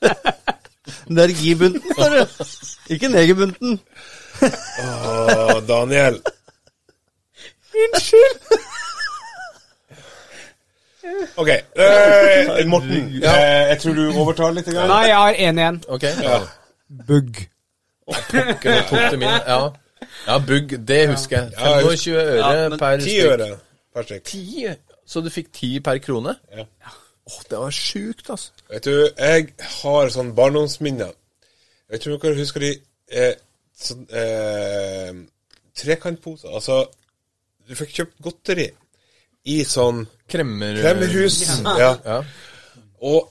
Energibunten, står det. Ikke negerbunten.
Å, Daniel.
Unnskyld!
OK. Eh, Morten, eh, jeg tror du overtar litt. Grann.
Nei, jeg har én igjen.
Ok.
Ja.
Bugg.
Ikke noe tok til min. Ja. ja, bugg. Det husker jeg.
Ja, jeg
25 øre
Ja, men
per
Ti
stykk.
øre per stykk.
10? Så du fikk 10 per krone?
Ja.
Åh, det var sjukt, altså.
Vet du, jeg har sånn barndomsminner. Jeg tror dere husker de eh, sånn, eh, trekantposer. Altså, du fikk kjøpt godteri i sånn
Kremmer
kremmerhus. Ja.
Ja.
Og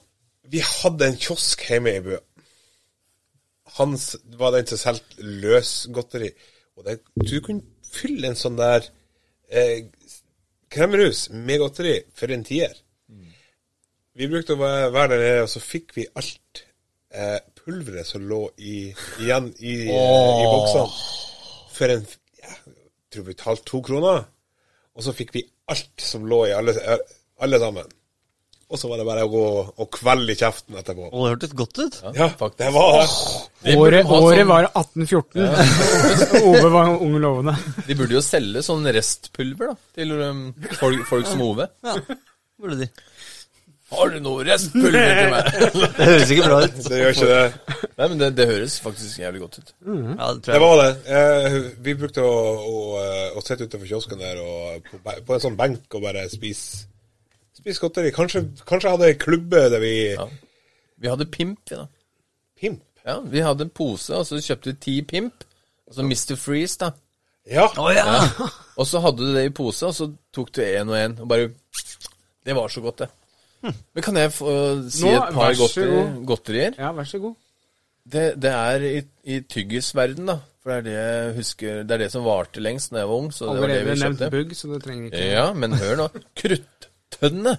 vi hadde en kiosk hjemme i Bø. Hans var den som solgte løsgodteri. Og det, du kunne fylle en sånn der eh, kremmerhus med godteri for en tier. Vi brukte å være være der nede, og så fikk vi alt eh, pulveret som lå i, igjen i, eh, i boksene. For en ja, jeg tror vi betalte to kroner. Og så fikk vi alt som lå i alle, alle sammen. Og så var det bare å gå og kvelde i kjeften etterpå.
Å, det hørtes godt ut.
Ja, det var
De burde
Året,
ha
året
sånn-
var 1814. Ove var ung lovende.
De burde jo selge sånn restpulver da til um, folk, folk som Ove.
Ja, burde de.
Har du noe restpulver til meg?
Det høres ikke bra ut.
Det gjør ikke det.
Nei, men det, det høres faktisk jævlig godt ut.
Ja, det tror
Det
jeg.
var det. Eh, vi brukte å, å, eh, å sitte utenfor kiosken der og på, be- på en sånn benk og bare spise spis godteri. Kanskje, kanskje hadde ei klubbe der vi
Ja. Vi hadde pimp, vi da.
Pimp.
Ja, vi hadde en pose, og så kjøpte du ti pimp. Og så Mr. Freeze, da.
Ja.
Å ja!
Og så hadde du det i pose, og så tok du én og én, og bare Det var så godt, det. Men kan jeg få eh, si
Nå,
et
vær
par
så
godteri,
god.
godterier?
Ja, vær så god.
Det, det er i, i tyggisverden, da. For det er det jeg husker Det er det som varte lengst da jeg var ung. Så det var det
Allerede
vi
nevnt
kjøpte.
bugg, så du trenger ikke
Ja, men hør nå. Kruttønne.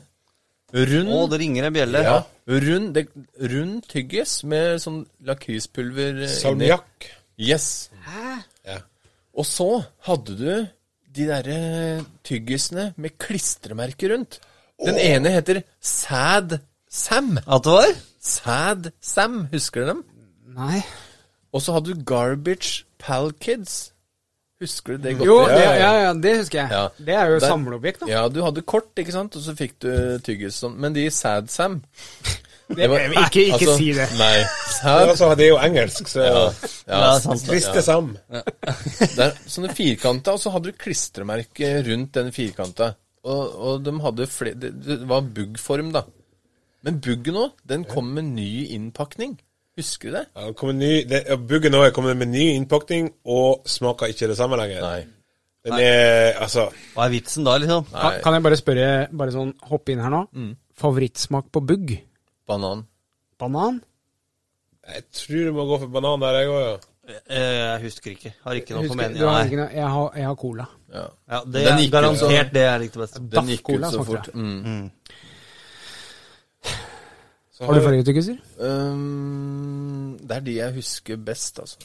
Rund.
Å, det ringer en bjelle.
ja. rund, det, rund tyggis med sånn lakrispulver eh, inni.
Salmiakk.
Yes.
Hæ?
Og så hadde du de derre tyggisene med klistremerker rundt. Den ene heter Sad Sam.
At det var?
Sad Sam, husker du dem?
Nei.
Og så hadde du Garbage Pal Kids. Husker du det godt?
Jo,
Ja.
det, ja, ja, det husker jeg.
Ja.
Det er jo
Der-
samleobjekt, da.
Ja, du hadde kort, ikke sant, og så fikk du tyggis sånn. Men de Sad Sam
Det,
var-
ikke ikke
altså,
si det.
Nei.
Men
Sad
altså, det er jo engelsk, så
ja,
Ja, sant det.
Triste Sam.
Det er sånne firkanta, og så hadde du klistremerke rundt den firkanta. Og, og de hadde fle- det, det var buggform, da. Men buggen òg, den kom med ny innpakning. Husker du det?
Ja, det kommer ny- det- ja, Buggen nå er kommet med ny innpakning og smaker ikke det samme lenger.
Nei.
Den er altså
Hva er vitsen da, liksom?
Kan, kan jeg bare spørre, bare sånn hoppe inn her nå. Favorittsmak på bugg?
Banan.
Banan?
Jeg tror du må gå for banan der, jeg òg, ja.
Eh, Jeg husker ikke. Har ikke noe
Husker,
formening.
du har
Nei.
ikke noe- jeg, har, jeg har cola.
Ja.
Ja, det
Den
er
gikk jo
garantert
sånn.
det er liksom ikke det beste.
Den gikk ut
Cola
så
smakte
fort.
det.
Mm.
Så
Har du fargetykkelser?
Um, det er de jeg husker best, altså.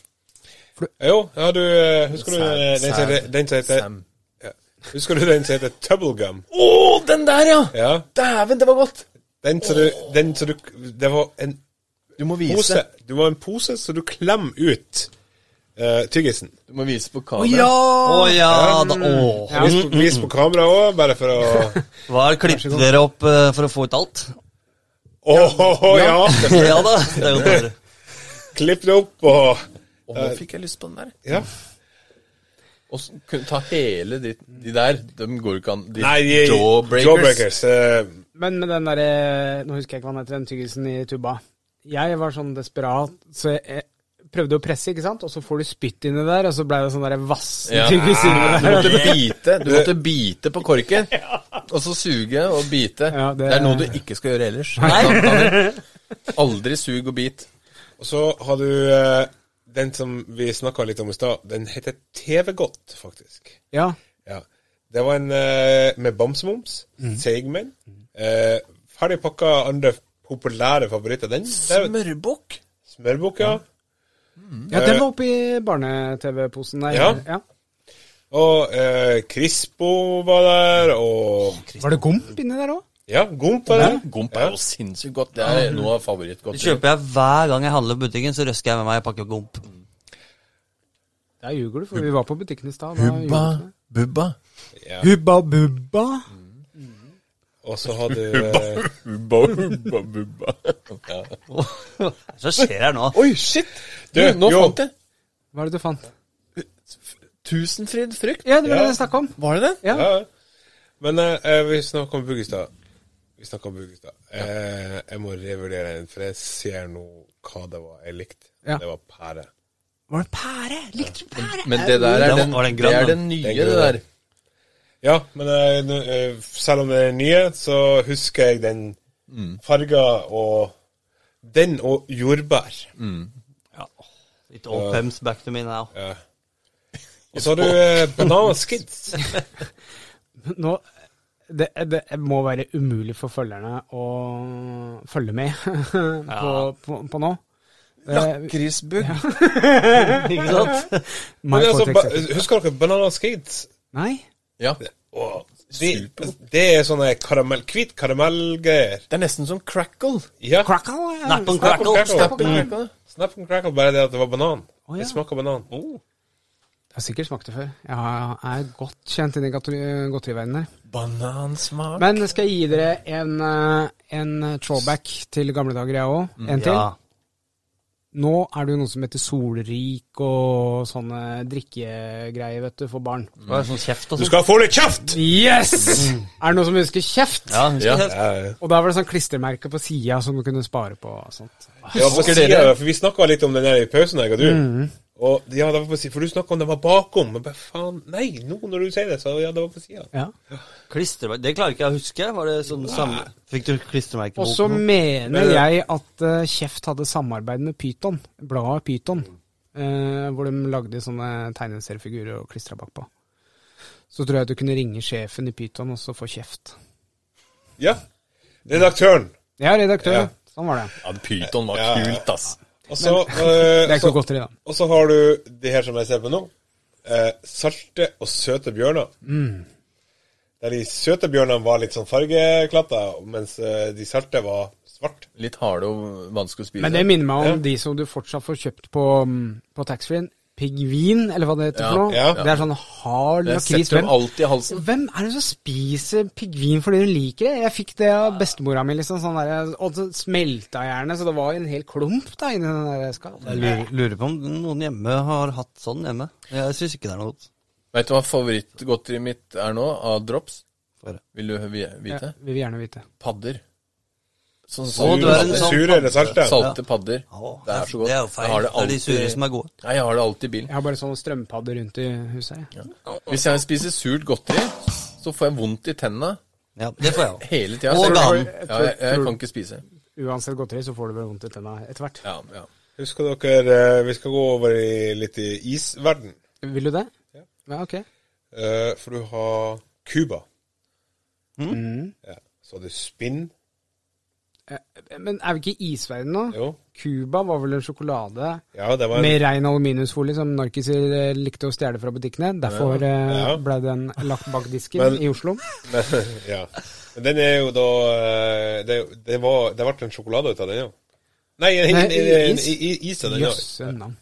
Jo, ja, du eh, Husker du
Sad-
eh, den som heter-
sad-
den som
Eh.
heter
Sam.
ja. Husker du den som heter Tubblegum?
Å, den der, ja!
Ja.
Dæven, det var godt!
Den som du Den som du Det var en
Du må vise.
pose. Du var en pose, så du klemmer ut eh, tyggisen.
Du må vise på
Å
kamera.
ja! Å ja Ah, da, å.
Ja.
Vis, på- vis på kamera òg, bare for å
Hva er klippet dere opp eh, for å få ut alt?
Å, ja!
ja da, det er jo bare
Klipp det opp og
Å,
Eh.
nå fikk jeg lyst på den der.
Ja.
Og så kunne ta hele de, de der. De går ikke an. De
Nei, de,
jawbreakers.
jawbreakers, eh,
Men med den derre Nå husker jeg ikke hva den heter, den tyggelsen i tuba. Jeg var sånn desperat, så jeg prøvde å presse, ikke sant, og så får du spytt inni der, og så blei det sånn derre vassen
Ja.
tyggis inni
Du
der.
måtte bite Du måtte bite på korken, og så suge og bite.
Ja,
det...
det-
er noe du ikke skal gjøre ellers. Nei. Aldri sug og bit.
Og så har du eh, den som vi snakka litt om i stad. Den heter TV-godt, faktisk.
Ja.
Ja. Det var en eh, med Bamsemums, Seigmenn. Eh, ferdig pakka andre populære favoritter. Den der-
Smørbukk.
Smørbukk, ja.
ja, den var oppi barne-TV-posen der.
Ja. Og eh, Crispo var der, og
Var det gomp inni der òg?
Ja, Gomp var der.
Gomp er jo sinnssykt godt. Det er noe av
Det
favorittgodteriet.
kjøper jeg hver gang jeg handler på butikken, så røsker jeg med meg en pakke gomp. mitt.
Der ljuger du, for vi var på butikken i stad. da ljuger du
Bubba.
ikke det. Hubba
Bubba.
bubba.
Og så har du eh,
Bubba, bubba, bubba. Ja.
Så skjer her nå.
Oi, shit! Du,
Du,
nå
jo.
fant jeg.
Hva er det du fant?
Tusenfryd frukt.
Ja, det var
Ja.
det jeg snakka om.
Var det det?
Ja.
Ja. Men eh, eh, vi snakka om Buggestad. Vi snakka om Buggestad. Eh, jeg må revurdere den, for jeg ser nå hva det var jeg likte.
Ja.
Det var pære.
Var det pære? Likte du pære?
Men det der er
Den-
den,
var den grønn,
det er
da?
den nye,
Den
det
grønne.
der.
Ja, men eh, nå, eh, selv om det er nye, så husker jeg den farga og Den og jordbær.
Ja. Litt old pumps back to me now.
Ja. Og så har du eh, Banana Skids.
nå det, det må være umulig for følgerne å følge med på,
Ja.
på, på nå. Eh,
Lakrisbugg.
Ikke sant?
My
Men altså,
Cortex
ba
X.
husker dere Banana Skids?
Nei?
Ja.
Åh, det, det er sånne karamell, hvit karamellgreier.
Det er nesten som crackle.
Ja.
Crackle? ja.
Snap and
Snap and
crackle.
crackle. Mm.
Snappen crackle.
Snap and crackle, bare det at det var banan.
Å, ja. Oh.
Det smaker banan.
Jeg har sikkert smakt det før. Jeg er godt kjent inni godteri- godteriverdenen her.
Banansmak.
Men skal jeg gi dere en, eh, en throwback til gamle dager, jeg òg? En til?
Ja.
Nå er det jo noe som heter solrik og sånne drikkegreier, vet du, for barn.
Det var sånn kjeft og
Du
sånn.
skal få litt kjeft!
Yes! Er det noen som husker kjeft?
Ja, husker
Ja.
kjeft.
Og da var det sånn klistremerke på sida som du kunne spare på og sånt.
Det var på
Husker
siden,
dere?
for vi snakka litt om den der i pausen, jeg og du.
Mm.
Og, ja, det var på siden, for du snakka om den var bakom, men bare faen Nei, nå når du sier det, så ja, det var på sida.
Ja.
Klistremerke Det klarer ikke jeg å huske. Var det sånn samme Fikk du klistremerke
Og så
boken?
mener jeg at eh, Kjeft hadde samarbeid med Pyton, bladet Pyton, eh, hvor de lagde sånne tegneseriefigurer og klistra bakpå. Så tror jeg at du kunne ringe sjefen i Pyton og så få kjeft.
Ja. Redaktøren.
Jeg er redaktør,
Ja.
sånn var det.
Ja, Pyton var
Ja, ja.
kult, ass.
Og så
Det er
eh,
ikke
så-
noe godteri, da.
og så har du det her som jeg ser på nå. eh, salte og søte bjørner. Der de søte bjørnene var litt sånn fargeklatta, mens eh, de salte var svart.
Litt harde og vanskelig å spise.
Men det minner meg om de som du fortsatt får kjøpt på, mm, på taxfree-en. Pigvin, eller hva det heter
Ja,
for noe.
ja.
Det er sånn hard
Det
lakris. Hvem,
setter dem alltid i halsen.
hvem er det som spiser pigvin fordi hun liker det? Jeg fikk det av bestemora mi, liksom. Sånn der, og så smelta jeg gjerne, så det var en hel klump da inni den der
Jeg
skallen.
lurer, lurer på om noen hjemme har hatt sånn hjemme. Jeg syns ikke det er noe godt.
Vet du hva favorittgodteriet mitt er nå, av drops?
Få høre.
Vil du hø- vi-
Ja,
vite?
vi vil gjerne vite.
Padder. Sånn
Å, du er en
salte-
sånn
Sure eller salte?
Salte padder.
Å,
Det er så godt.
Det er jo feil.
Jeg har
Det, er de
alltid-
sure som er gode.
Nei, jeg har det alltid i bilen.
Jeg har bare sånne strømpadder rundt i huset. jeg.
Hvis jeg spiser surt godteri, så får jeg vondt i tennene
Ja, det får jeg òg.
hele tida.
Og ganen.
Ja, jeg, jeg kan ikke spise.
Uansett godteri, så får du vel vondt i tenna etter hvert.
Ja, ja.
Husker dere eh, Vi skal gå over i litt i isverden.
Vil du det?
Ja.
Ja, ok.
Eh, for du har Cuba.
Mm.
Ja. Så har du spinn.
Eh, Men er vi ikke i isverden nå?
Jo.
Cuba var vel en sjokolade
Ja, det var en
med rein aluminiumsfolie som narkiser eh, likte å stjele fra butikkene. Derfor eh,
Ja.
ble den lagt bak disken
Men-
i Oslo.
Men, ja. Men den er jo da eh, Det, det, var, det ble en sjokolade ut av den, jo. Nei, en,
Nei,
en, en,
is.
i- i- is av den,
Jøss,
ja.
navn.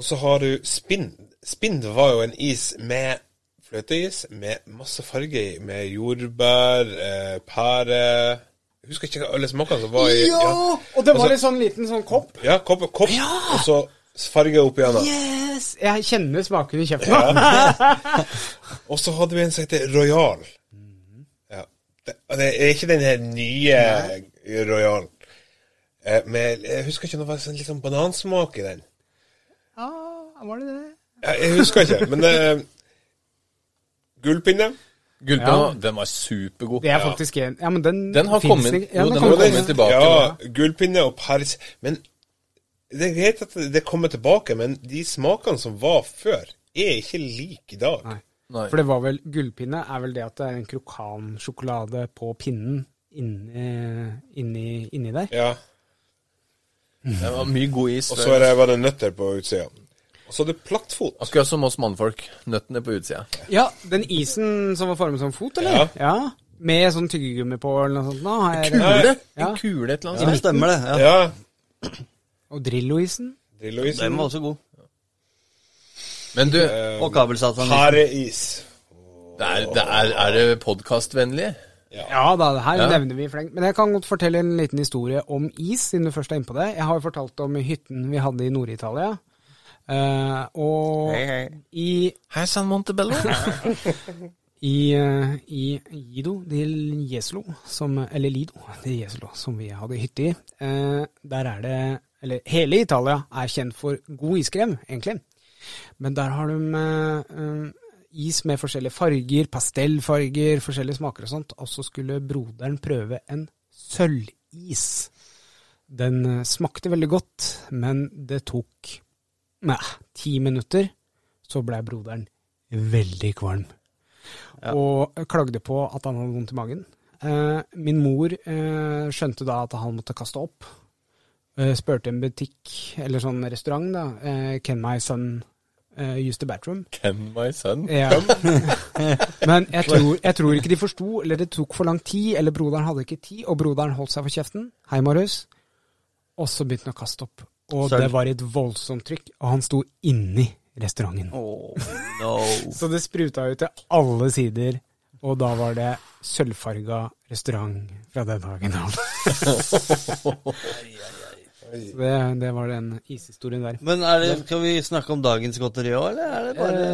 Og så har du spinn. Spinn var jo en is med fløteis, med masse farge i, med jordbær, eh, pære Jeg Husker ikke hva alle smakene som var i
Ja! Og det var en sånn liten sånn kopp.
Ja, kopp, kopp og så farge opp igjennom.
Yes! Jeg kjenner smaken i kjeften. nå.
Og så hadde vi en som heter Royal. Ja. Det, og det er ikke den her nye Royal. Eh, men jeg husker ikke om det var sånn, litt sånn banansmak i den.
Ah, var det det?
Jeg, jeg husker ikke, men eh, Gullpinne.
Gullpinna,
Ja.
den var supergod.
Det er faktisk en Ja, men den
Den har
finnes
kommet.
ikke-
Jo,
Ja, den,
den
har
har
kommet.
kommet tilbake.
Ja, gullpinne og pers. Men det er greit at det kommer tilbake, men de smakene som var før, er ikke like i dag.
Nei.
Nei.
For det var vel Gullpinne er vel det at det er en krokansjokolade på pinnen inni, inni, inni der.
Ja.
Det var mye god is.
Og så er det, var det nøtter på utsida. Og så er det plattfot.
Akkurat som oss mannfolk. Nøttene på utsida.
Ja, den isen som var formet som fot, eller?
Ja.
Med sånn tyggegummi på eller noe sånt. Nå har jeg
Kule!
Ja.
En kule et eller
Ja,
annet.
det stemmer, det. Ja.
Ja.
Og Drillo-isen.
Drilloisen.
Den var også god.
Men du,
Eh,
Og kabelsatan.
Pareis.
det er, det er, er det podkastvennlig?
Ja da, det her
Ja.
nevner vi i fleng. Men jeg kan godt fortelle en liten historie om is, siden du først er inne på det. Jeg har jo fortalt om hytten vi hadde i Nord-Italia. Eh, og i
Hei sann, Montebello.
i, eh, i Lido di Jesolo, som, eller Lido di Jesolo, som vi hadde hytte i. Eh, der er det Eller hele Italia er kjent for god iskrem, egentlig. Men der har de eh, eh, is med forskjellige farger, pastellfarger, forskjellige smaker og sånt. Og så skulle broderen prøve en sølvis. Den eh, smakte veldig godt, men det tok nei, ti minutter. Så blei broderen veldig kvalm og klagde på at han hadde vondt i magen. Eh, min mor eh, skjønte da at han måtte kaste opp. Eh, spurte en butikk, eller sånn restaurant, da. Eh, Can my son eh, use the bathroom?
Can my son.
Ja. Men jeg tror, jeg tror ikke de forsto, eller det tok for lang tid, eller broderen hadde ikke tid, og broderen holdt seg for kjeften. Hei, Marius. Og så begynte han å kaste opp. Og
Sølv.
det var et voldsomt trykk, og han sto inni restauranten.
Oh, no.
Så det spruta ut til alle sider, og da var det sølvfarga restaurant fra den dagen av. Så det, det var den ishistorien der.
Men er det, skal vi snakke om dagens godteri òg, eller er det bare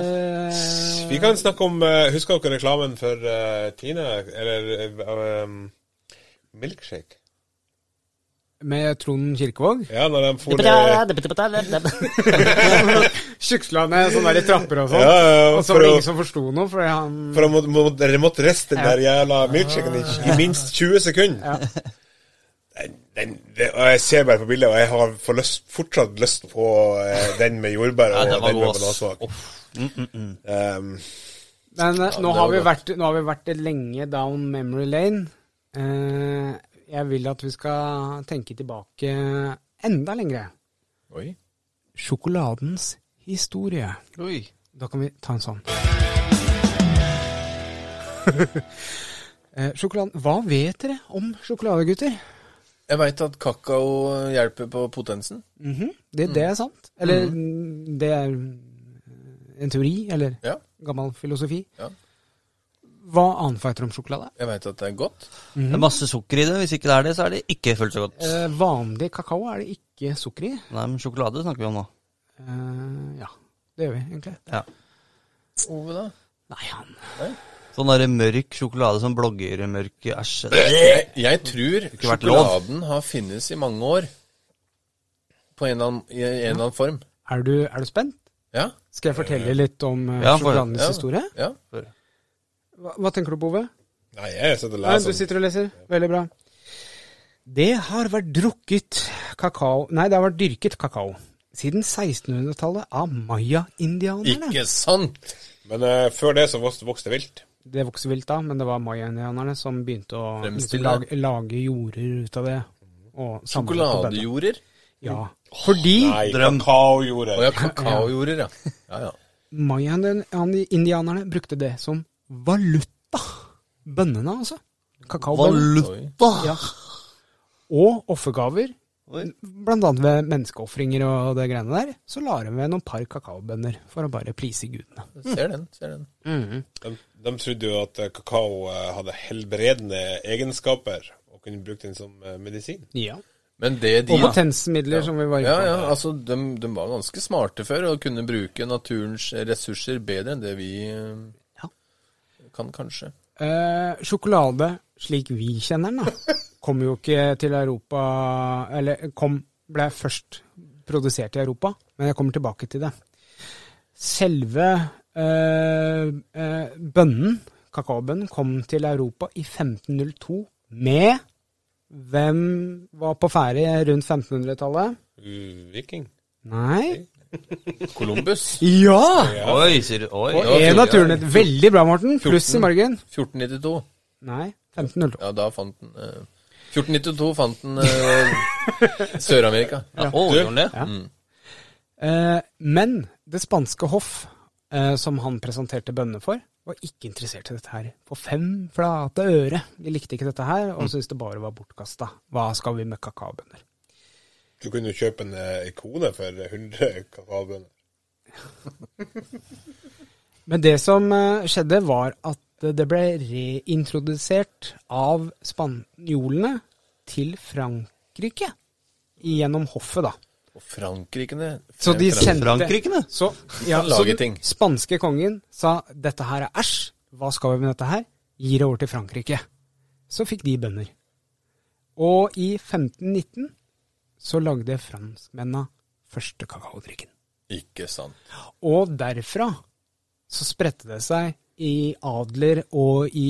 Eh,
Vi kan snakke om eh, Husker dere reklamen for eh, Tina? Eller eh, um, Milkshake?
Med Trond Kirkevåg.
Ja, når de for ned
Sjuksla ned sånne der i trapper og
ja,
sånn.
ja,
Og så
For
var
å
det ingen som forsto noe, fordi han
for å må, må, dere måtte riste den der jævla milkshaken i, i minst 20 sekunder. Den, den, det, og jeg ser bare på bildet, og jeg har for lyst, fortsatt lyst på eh, den med jordbær
Ja,
og
den
den,
var Mm,
med
god, ass.
banansmak. Um,
Men eh, nå,
det
har
var
vi
godt.
vært, nå har vi vært lenge down memory lane. Eh, jeg vil at vi skal tenke tilbake enda lengre.
Oi.
Sjokoladens historie.
Oi.
Da kan vi ta en sånn. Eh, Sjokoladen. Hva vet dere om sjokoladegutter?
Jeg veit at kakao hjelper på potensen.
Mhm. det, det er sant. Eller det er eh, en teori, eller
Ja.
gammel filosofi.
Ja.
Hva annet vet dere om sjokolade?
Jeg veit at det er godt.
Det er masse sukker i det. Hvis ikke det er det, så er det ikke fullt så godt.
mhm. Eh, vanlig kakao er det ikke sukker i.
Nei, men sjokolade snakker vi om nå.
Eh, ja, det gjør vi egentlig.
Ja.
Ove, da?
Nei, han
Sånn derre mørk sjokolade som bloggermørk Æsj.
Jeg, jeg tror
ikke vært lov.
sjokoladen har finnes i mange år. På en eller annen, i en eller annen form.
Er du, er du spent?
Ja.
Skal jeg fortelle litt om eh,
Ja, for-
sjokoladens
ja.
historie?
ja.
Hva, hva tenker du på, Ove?
Nei, jeg sitter og
Nei, du
leser.
sitter og leser. Veldig bra. Det har vært drukket kakao Nei, det har vært dyrket kakao siden 1600-tallet av
Sånn
maya-indianerne.
Ikke sant?
Men eh, før det så vokste, vokste vilt.
Det vokste vilt da, men det var maya-indianerne som begynte å
Fremstille.
liksom, lage, lage jorder ut av det. Og samle på bønner.
Sjokoladejorder.
Ja. Fordi
Nei,
Drøm.
Å ja,
kakaojordet.
kakaojorder, ja. ja, ja.
maya-indianerne brukte det som valuta. Bønnene, altså. Kakaobønner.
Valuta!
Ja. Og offergaver.
Oi.
Blant annet ved menneskeofringer og det greiene der. Så la de ved noen par kakaobønner for å bare prise gudene.
Ser den. ser den.
De, de trodde jo at eh, kakao eh, hadde helbredende egenskaper, og kunne brukt den som eh, medisin.
Ja.
Men det de
Og potensmidler, som vi var
Ja,
inne på.
ja, altså de, de var ganske smarte før og kunne bruke naturens ressurser bedre enn det vi eh,
Ja.
kan, kanskje.
Eh, sjokolade, slik vi kjenner den, da, kom jo ikke til Europa Eller kom, ble først produsert i Europa, men jeg kommer tilbake til det. Selve eh, eh, bønnen, kakaobønnen, kom til Europa i 1502 med Hvem var på ferde rundt 1500-tallet?
Uh, Viking.
Nei
Columbus.
Ja!
Oi, sier du. Oi.
Og en av turene Veldig bra, Morten. Pluss i
14.
margen.
1492.
Nei, 1502.
Ja, da fant den eh, 1492 fant den eh, Sør-Amerika. Mm.
Ja, å, gjorde den det?
Eh, men det spanske hoff, eh, som han presenterte bønnene for, var ikke interessert i dette her. På fem flate øre. De likte ikke dette her, og syntes det bare var bortkasta. Hva skal vi med kakaobønner?
Du kunne jo kjøpe en eh, kone for 100 kakaobønner.
Men det som eh, skjedde, var at det ble reintrodusert av spanjolene til Frankrike. Gjennom hoffet, da.
Og Frankrike det.
Så de
Frankrike.
sendte
Frankrike, det.
Så, ja,
kan
så
lage
den
ting.
spanske kongen sa dette her er æsj, hva skal vi med dette her? Gi det over til Frankrike. Så fikk de bønder. Og i 1519 så lagde franskmennene første kakaodrikken.
Ikke sant.
Og derfra så spredte det seg i adler og i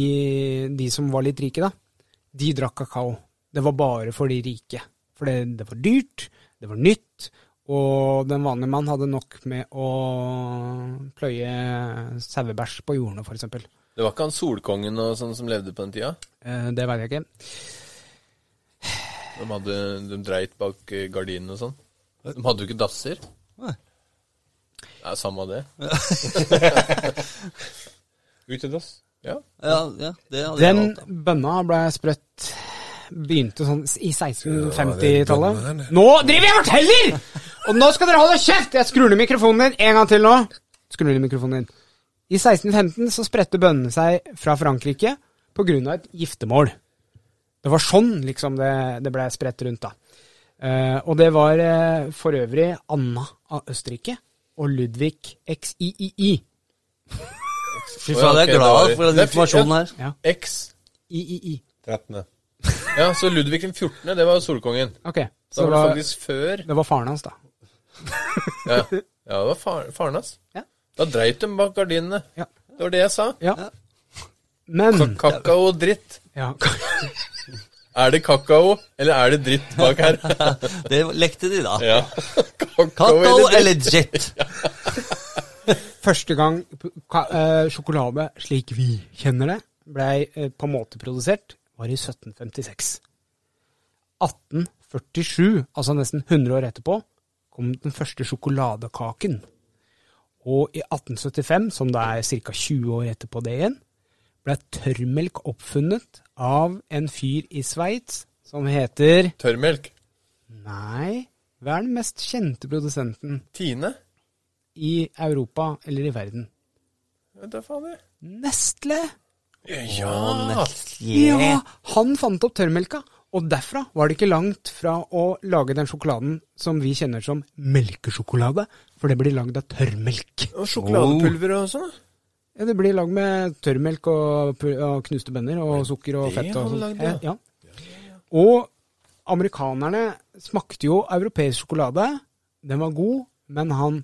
de som var litt rike, da. De drakk kakao. Det var bare for de rike. For det, det var dyrt, det var nytt, og den vanlige mann hadde nok med å pløye sauebæsj på jordene, f.eks.
Det var ikke han solkongen og sånn som levde på den tida?
Eh, Det veit jeg ikke.
De, hadde, de dreit bak eh, gardinene og sånn? De hadde jo ikke dasser.
Nei.
Det er samme det.
Utedass.
Ja.
Ja, ja, det hadde jeg
Den
valgt. da.
bønna ble sprøtt Begynte sånn i 1650-tallet. Nå driver jeg og forteller! Og nå skal dere holde kjeft! Jeg skrur ned mikrofonen din en gang til nå. Skrur ned mikrofonen din. I 1615 så spredte bøndene seg fra Frankrike pga. et giftermål. Det var sånn liksom det, det ble spredt rundt, da. Eh, og det var eh, for øvrig Anna av Østerrike og Ludvig XIII.
Fy faen, jeg er
Ok, det var-
glad for
Det
den
er fint,
informasjonen
ja.
her.
X.
III.
13.
Ja, så Ludvig den 14., det var jo solkongen.
Ok,
Da
så det
var det
var,
faktisk før
det var faren hans, da.
Ja, ja det var far, faren hans.
Ja.
Da dreit de bak gardinene.
Ja.
Det var det jeg sa.
Ja. Men
Kakao og dritt.
ja.
Er det kakao, eller er det dritt bak her?
Det lekte de, da.
Ja. Kakao
Kakao
eller dritt.
eller jet?
Første gang ka- eh, sjokolade, slik vi kjenner det, blei eh, på en måte produsert, var i 1756. 1847, altså nesten 100 år etterpå, kom den første sjokoladekaken. Og i 1875, som det er ca. 20 år etterpå det igjen, ble tørrmelk oppfunnet av en fyr i Sveits som heter
Tørrmelk.
Nei, hva er den mest kjente produsenten
Tine?
i Europa eller i verden?
Vet da faen jeg.
Nestle!
Ja,
Ja, han fant opp tørrmelka. Og derfra var det ikke langt fra å lage den sjokoladen som vi kjenner som melkesjokolade, for det blir lagd av tørrmelk.
Og sjokoladepulver og sånn. da.
Ja, det blir lagd med tørrmelk og, pu- og knuste bønner og sukker og
det
fett. Og,
har de
sånt.
lagd, ja.
Eh, ja. og amerikanerne smakte jo europeisk sjokolade. Den var god, men han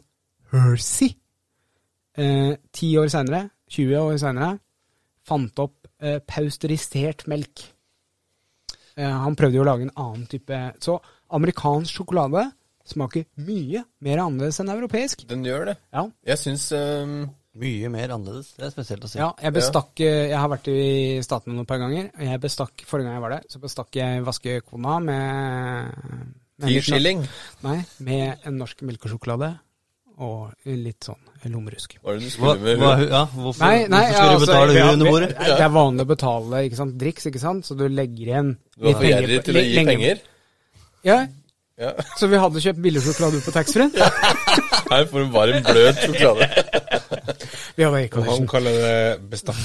Hersey eh, Ti år seinere, 20 år seinere, fant opp eh, pausterisert melk. Eh, han prøvde jo å lage en annen type Så amerikansk sjokolade smaker mye mer annerledes enn europeisk.
Den gjør det.
Ja,
Jeg syns ehm,
Mye mer annerledes. Det er spesielt å si.
Ja, jeg bestakk eh, Jeg har vært i Statene noen par ganger, og jeg bestakk Forrige gang jeg var der, så bestakk jeg vaskekona med med
ti
litt nor-
skilling.
Nei, med en norsk melkesjokolade og litt sånn lommerusk.
Var det du
Hva,
skulle med?
hva, ja, hvorfor,
Nei, nei,
hvorfor skulle du betale
vi
hun
har-
under bordet?
Nei, Det er vanlig å betale ikke sant, driks, ikke sant, så du legger igjen
Du var for gjerrig til å gi penger?
Ja,
Ja.
så vi hadde kjøpt billig sjokolade på taxfree.
Her får du bare en bløt sjokolade.
Vi hadde
Han
aircondition.
kaller det bestakk.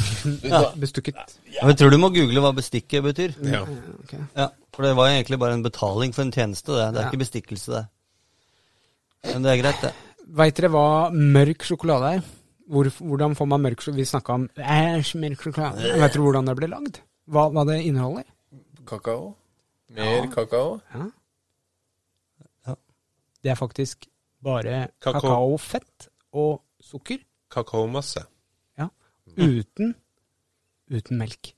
Bestukket.
Ja, men Jeg tror du må google hva bestikket betyr.
Ja.
Ok.
Ja, For det var jo egentlig bare en betaling for en tjeneste, det. Det er
Ja.
ikke bestikkelse, det. Men det er greit, det.
Veit dere hva mørk sjokolade er? Hvor, hvordan får man mørk sjokolade? Vi snakka om æsj, mørk sjokolade. Veit dere hvordan det ble lagd? Hva, hva det inneholder?
Kakao? Mer kakao?
Ja.
Ja.
Det er faktisk bare
Kakao.
kakaofett og sukker.
Kakaomasse.
Ja.
Mm.
Uten, uten melk.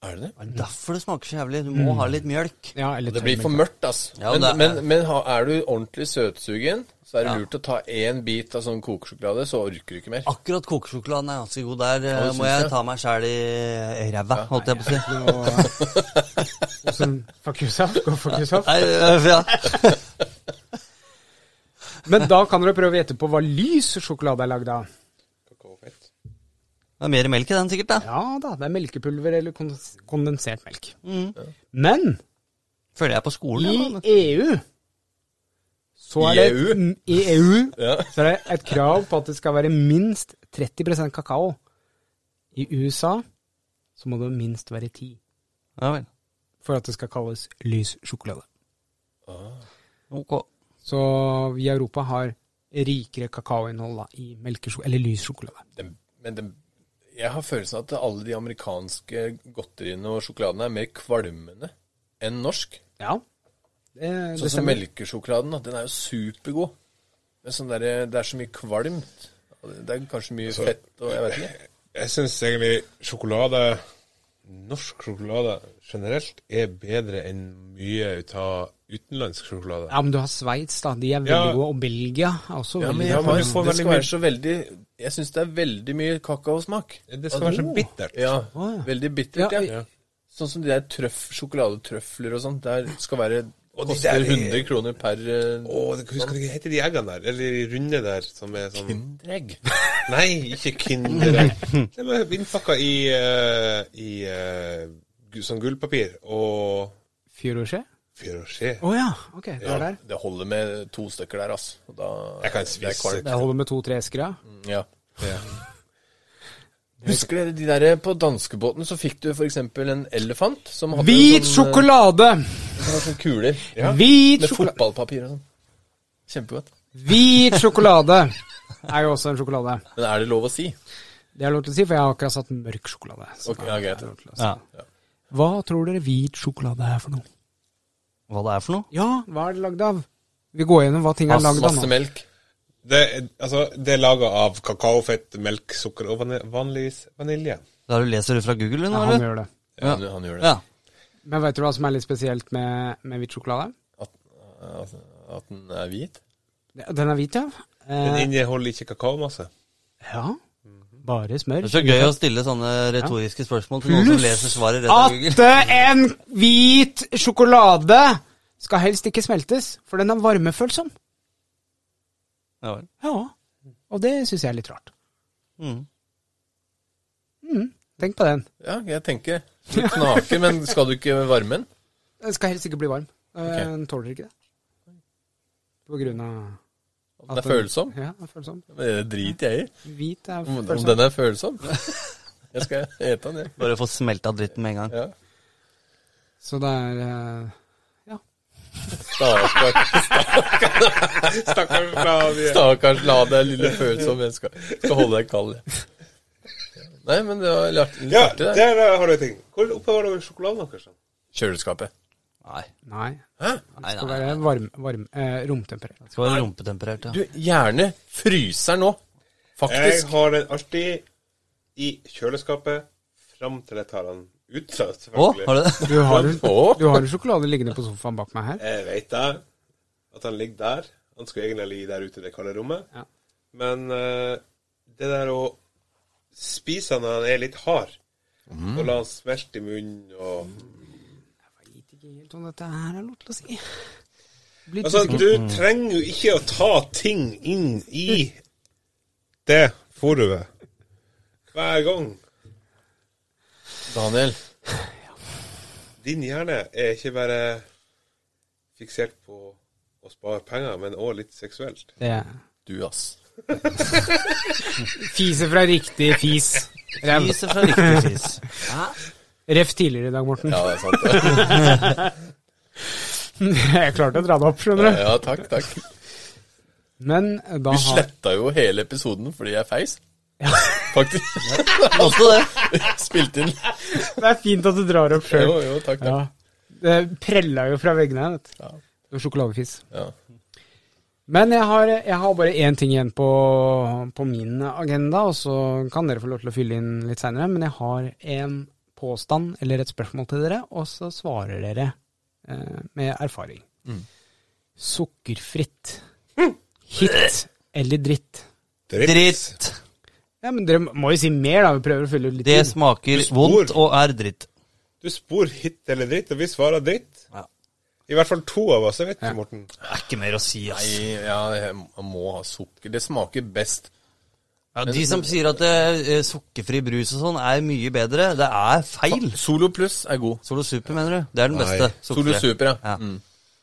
Er det det?
Det er derfor det smaker så jævlig. Du må ha litt mjølk.
Ja, eller
Det blir for
tørrmelk.
mørkt, ass.
Ja,
men,
det er-
men, men ha- er du ordentlig søtsugen, så er det
Ja.
lurt å ta én bit av sånn kokesjokolade, så orker du ikke mer.
Akkurat kokesjokoladen er ganske god der.
Ja,
eh,
det
Må
syns
jeg
jeg.
ta meg sjæl i ræva, holdt jeg på å si.
Og så- Fuck yourself, go fuck yourself.
Nei, eh, ja.
Men da kan dere prøve å gjette på hva lys sjokolade er lagd av.
Kakaofett.
Det er mer melk i den, sikkert. da
Ja da, det er melkepulver eller kondens- kondensert melk. Men
Mm. Føler jeg på skolen. jeg, da.
I EU så er
I
det,
EU?
Mm, I EU
Ja.
så er det et krav på at det skal være minst 30 kakao. I USA så må det minst være 10
Ja vel.
for at det skal kalles lys sjokolade.
Ok.
Så vi i Europa har rikere kakaoinnhold da, i melkesjokolade, eller lys sjokolade.
Den, men den, jeg har følelsen av at alle de amerikanske godteriene og sjokoladene er mer kvalmende enn norsk.
Ja, det, det
Sånn som
stemmer.
melkesjokoladen, da, den er jo supergod. Men sånn der, det er så mye kvalmt. og Det er kanskje mye fett og jeg vet ikke.
Jeg syns egentlig sjokolade, norsk sjokolade generelt, er bedre enn mye ut av utenlandsk sjokolade.
Ja, men du har Sveits, da. De er veldig
Ja.
gode. Og Belgia er også
Ja, men
veldig
jeg
men
har,
du får
det
veldig
skal
mye-
være så veldig Jeg syns det er veldig mye kakaosmak.
Det skal være så bittert.
Ja,
Å, ja.
veldig bittert,
Ja,
ja.
Ja.
Sånn som de der trøff, sjokoladetrøfler og sånt. Der skal
de
være Koster
der er-
100 kroner per eh,
Å, det- husker du ikke heter de eggene der? Eller de runde der som er sånn
Kinderegg.
Nei, ikke Kinder. Det var innpakka i, eh, i eh, gu- sånn gullpapir og
Fjorosje?
Fyrosje.
Å ja, ok. Det er der.
Det holder med to stykker der, altså. Og da
Jeg kan
det er
spise
kvalmt.
Det holder med to-tre esker, ja.
Ja.
Ja.
Husker dere de der på danskebåten, så fikk du for eksempel en elefant som hadde
Hvit
sånn, eh,
sjokolade!
som hadde sånne kuler.
Hvit
Med
sjokolade.
fotballpapir og sånn. Kjempegodt.
Hvit sjokolade er jo også en sjokolade.
Men er det lov å si?
Det er lov til å si, for jeg har akkurat satt mørk sjokolade. så
Ok,
da er
ja, greit.
det lov til å si.
Ja.
Hva tror dere hvit sjokolade er for noe?
Hva det er for noe?
Ja, hva er det lagd av? Vi går gjennom hva ting er lagd av
Masse
nå.
melk.
Det, er- altså, det er laga av kakaofett, melk, sukker og vani- vanligvis vanilje.
Da har du leser du fra Google,
Ja,
nå,
han
eller?
gjør det.
Ja, Han, han gjør det.
Ja.
Men vet du hva som er litt spesielt med, med hvit sjokolade?
At, at, at den er hvit?
Den er hvit, ja.
Den
Eh,
inneholder ikke kakaomasse.
ja. Bare smør.
Det er så gøy å stille sånne retoriske spørsmål til noen som leser
Pluss
svaret rett
at
av Google.
en hvit sjokolade skal helst ikke smeltes, for den er varmefølsom.
Ja, vel.
Ja. Og det syns jeg er litt rart.
Mm.
Mm, tenk på den.
Ja, jeg tenker litt naken, men skal du ikke varme den?
Den skal helst ikke bli varm. Eh,
Ok.
Den tåler ikke det. På grunn av
Om den er følsom?
Ja, den er følsom.
Men Det driter jeg i.
Hvit er
Om,
følsom.
om den er følsom? Jeg skal ete den, jeg.
Bare få smelta dritten med en gang.
Ja.
Så det er eh,
Stakkars,
Stakkars Flavie.
stakkars la deg lille følsom menneske. Skal holde deg kald. jeg. Nei, men det var lart- litt
Ja,
artig, det.
der har du en ting. Hvor oppbevarer dere sjokoladen deres? da?
Kjøleskapet.
Nei.
Nei.
Nei,
Det skal
nei.
være varm, varm, eh, romtemperert.
Det skal være rumpetemperert, ja.
Du, gjerne fryser nå.
Jeg
Faktisk.
har den alltid i kjøleskapet fram til jeg tar den ut. så
Å,
selvfølgelig.
har du det?
Du har,
Å.
du har jo sjokolade liggende på sofaen bak meg her.
Jeg vet det. At han ligger der. Han skulle egentlig ligge der ute i det kalde rommet.
Ja.
Men eh, det der å spise han når han er litt hard,
Mm.
og la han smelte i munnen og
Jeg vet ikke helt om dette her er lov til å si. Blir
Altså,
usikker.
du trenger jo ikke å ta ting inn i det forumet hver gang.
Daniel.
Din hjerne er ikke bare fiksert på å spare penger, men òg litt seksuelt.
Det
Du, ass.
Fiser fra riktig fis. Ræv.
Fiser fra riktig fis.
Ref tidligere i dag, Morten.
Ja, det er sant. det.
Jeg klarte å dra det opp, skjønner du.
Ja, takk, takk.
Men da
Vi
har
sletta jo hele episoden fordi jeg feis. Faktisk.
Måtte det.
Spilte inn.
Det er fint at du drar opp sjøl.
Jo, jo, takk,
Ja.
takk.
Det prella jo fra veggene her, vet du.
Ja.
Det var Sjokoladefis.
Ja.
Men jeg har, jeg har bare én ting igjen på, på min agenda, og så kan dere få lov til å fylle inn litt seinere. Men jeg har en påstand eller et spørsmål til dere, og så svarer dere eh, med erfaring. Sukkerfritt. Hit eller dritt?
Dritt.
Ja, men Dere må jo si mer, da. Vi prøver å fylle ut litt
Det
tid.
smaker
spor.
vondt og er dritt.
Du spor hit eller dritt, og vi svarer dritt.
Ja.
I hvert fall to av oss, jeg vet ikke, Morten.
Det er ikke mer å si, ass.
Nei, ja, jeg må ha sukker. Det smaker best.
Ja, de som sier at eh, sukkerfri brus og sånn er mye bedre, det er feil.
Solo pluss er god.
Solo Super, mener du? Det er den beste.
Solo
sukkerfri.
super, ja.
Ja.
Mm.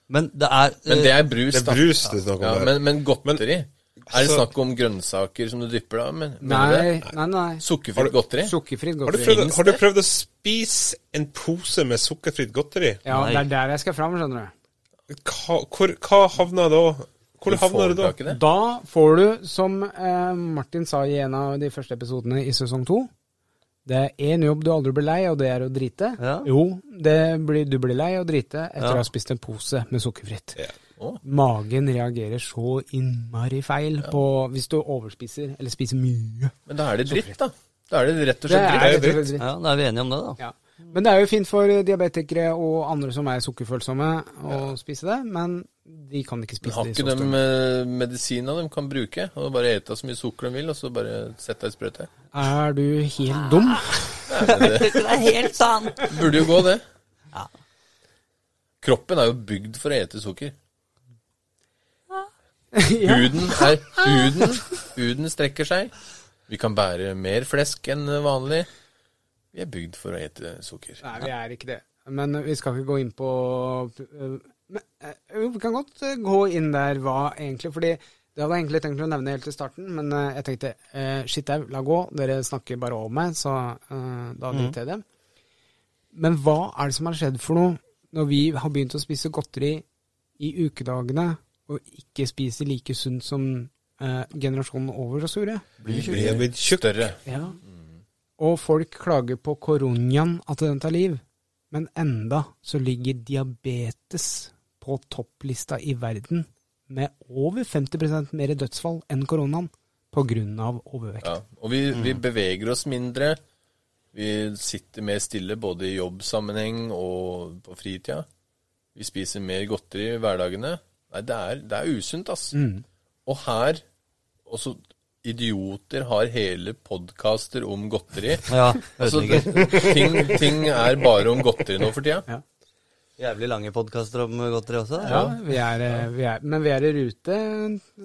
Men det er,
Men det
eh,
er brus,
Det
da.
er brus det er snakk om.
Ja,
her.
men, men godteri? Er det
Altså-
snakk om grønnsaker som du dypper da? Men, mener du
Nei,
det?
nei, nei.
Sukkerfritt godteri?
Sukkerfritt
har, du
godteri.
prøvd, å- har du prøvd å spise en pose med sukkerfritt godteri?
Ja, det er der jeg skal fram, skjønner du.
Hva, hvor, hva havna da? Hvor havna du da?
Ikke det?
Da får du, som eh, Martin sa i en av de første episodene i sesong to, det er én jobb du aldri blir lei, og det er å drite.
Ja.
Jo, det blir, du blir lei å drite etter
Ja.
å ha spist en pose med sukkerfritt.
Ja.
Å.
Magen reagerer så innmari feil på hvis du overspiser, eller spiser mye.
Men da er det dritt, da. Da er det rett og
Det
slett
er
dritt.
rett og slett dritt.
eh, ja, da er vi enige om det, da.
Ja. Men det er jo fint for diabetikere og andre som er sukkerfølsomme å spise det, men de kan ikke
Men
spise
Har
det i
ikke
så
de
stor
eh, medisiner de kan bruke? Og bare ete så mye sukker de vil, og så bare sette ei sprøyte?
Er du helt dum?
Det er helt sant.
Burde jo gå, det.
Ja.
Kroppen er jo bygd for å ete sukker.
ja.
Huden er huden, huden strekker seg. Vi kan bære mer flesk enn vanlig. Vi er bygd for å ete sukker.
Nei, vi er ikke det. Men vi skal ikke gå inn på øh, men, øh, Jo, vi kan godt øh, gå inn der hva egentlig Fordi det hadde jeg egentlig tenkt å nevne helt i starten, men øh, jeg tenkte uh, shit au, la gå. Dere snakker bare over meg, så øh, da driter jeg i det. Men hva er det som har skjedd for noe når vi har begynt å spise godteri i ukedagene og ikke spiser like sunt som øh, generasjonen over oss gjorde?
Jeg er blitt tjukk.
Større.
Ja. Mm. Og folk klager på koronaen, at den tar liv. Men enda så ligger diabetes på topplista i verden med over 50 mer dødsfall enn koronaen pga. overvekt.
Ja. Og vi, vi beveger oss mindre. Vi sitter mer stille både i jobbsammenheng og på fritida. Vi spiser mer godteri i hverdagene. Nei, det er, det er usunt, ass. Og her også idioter har hele podkaster om godteri.
Ja,
Altså,
ødelegger.
ting, ting er bare om godteri nå for tida.
Jævlig lange podkaster om godteri også.
Ja, vi er, eh, vi er, men vi er i rute,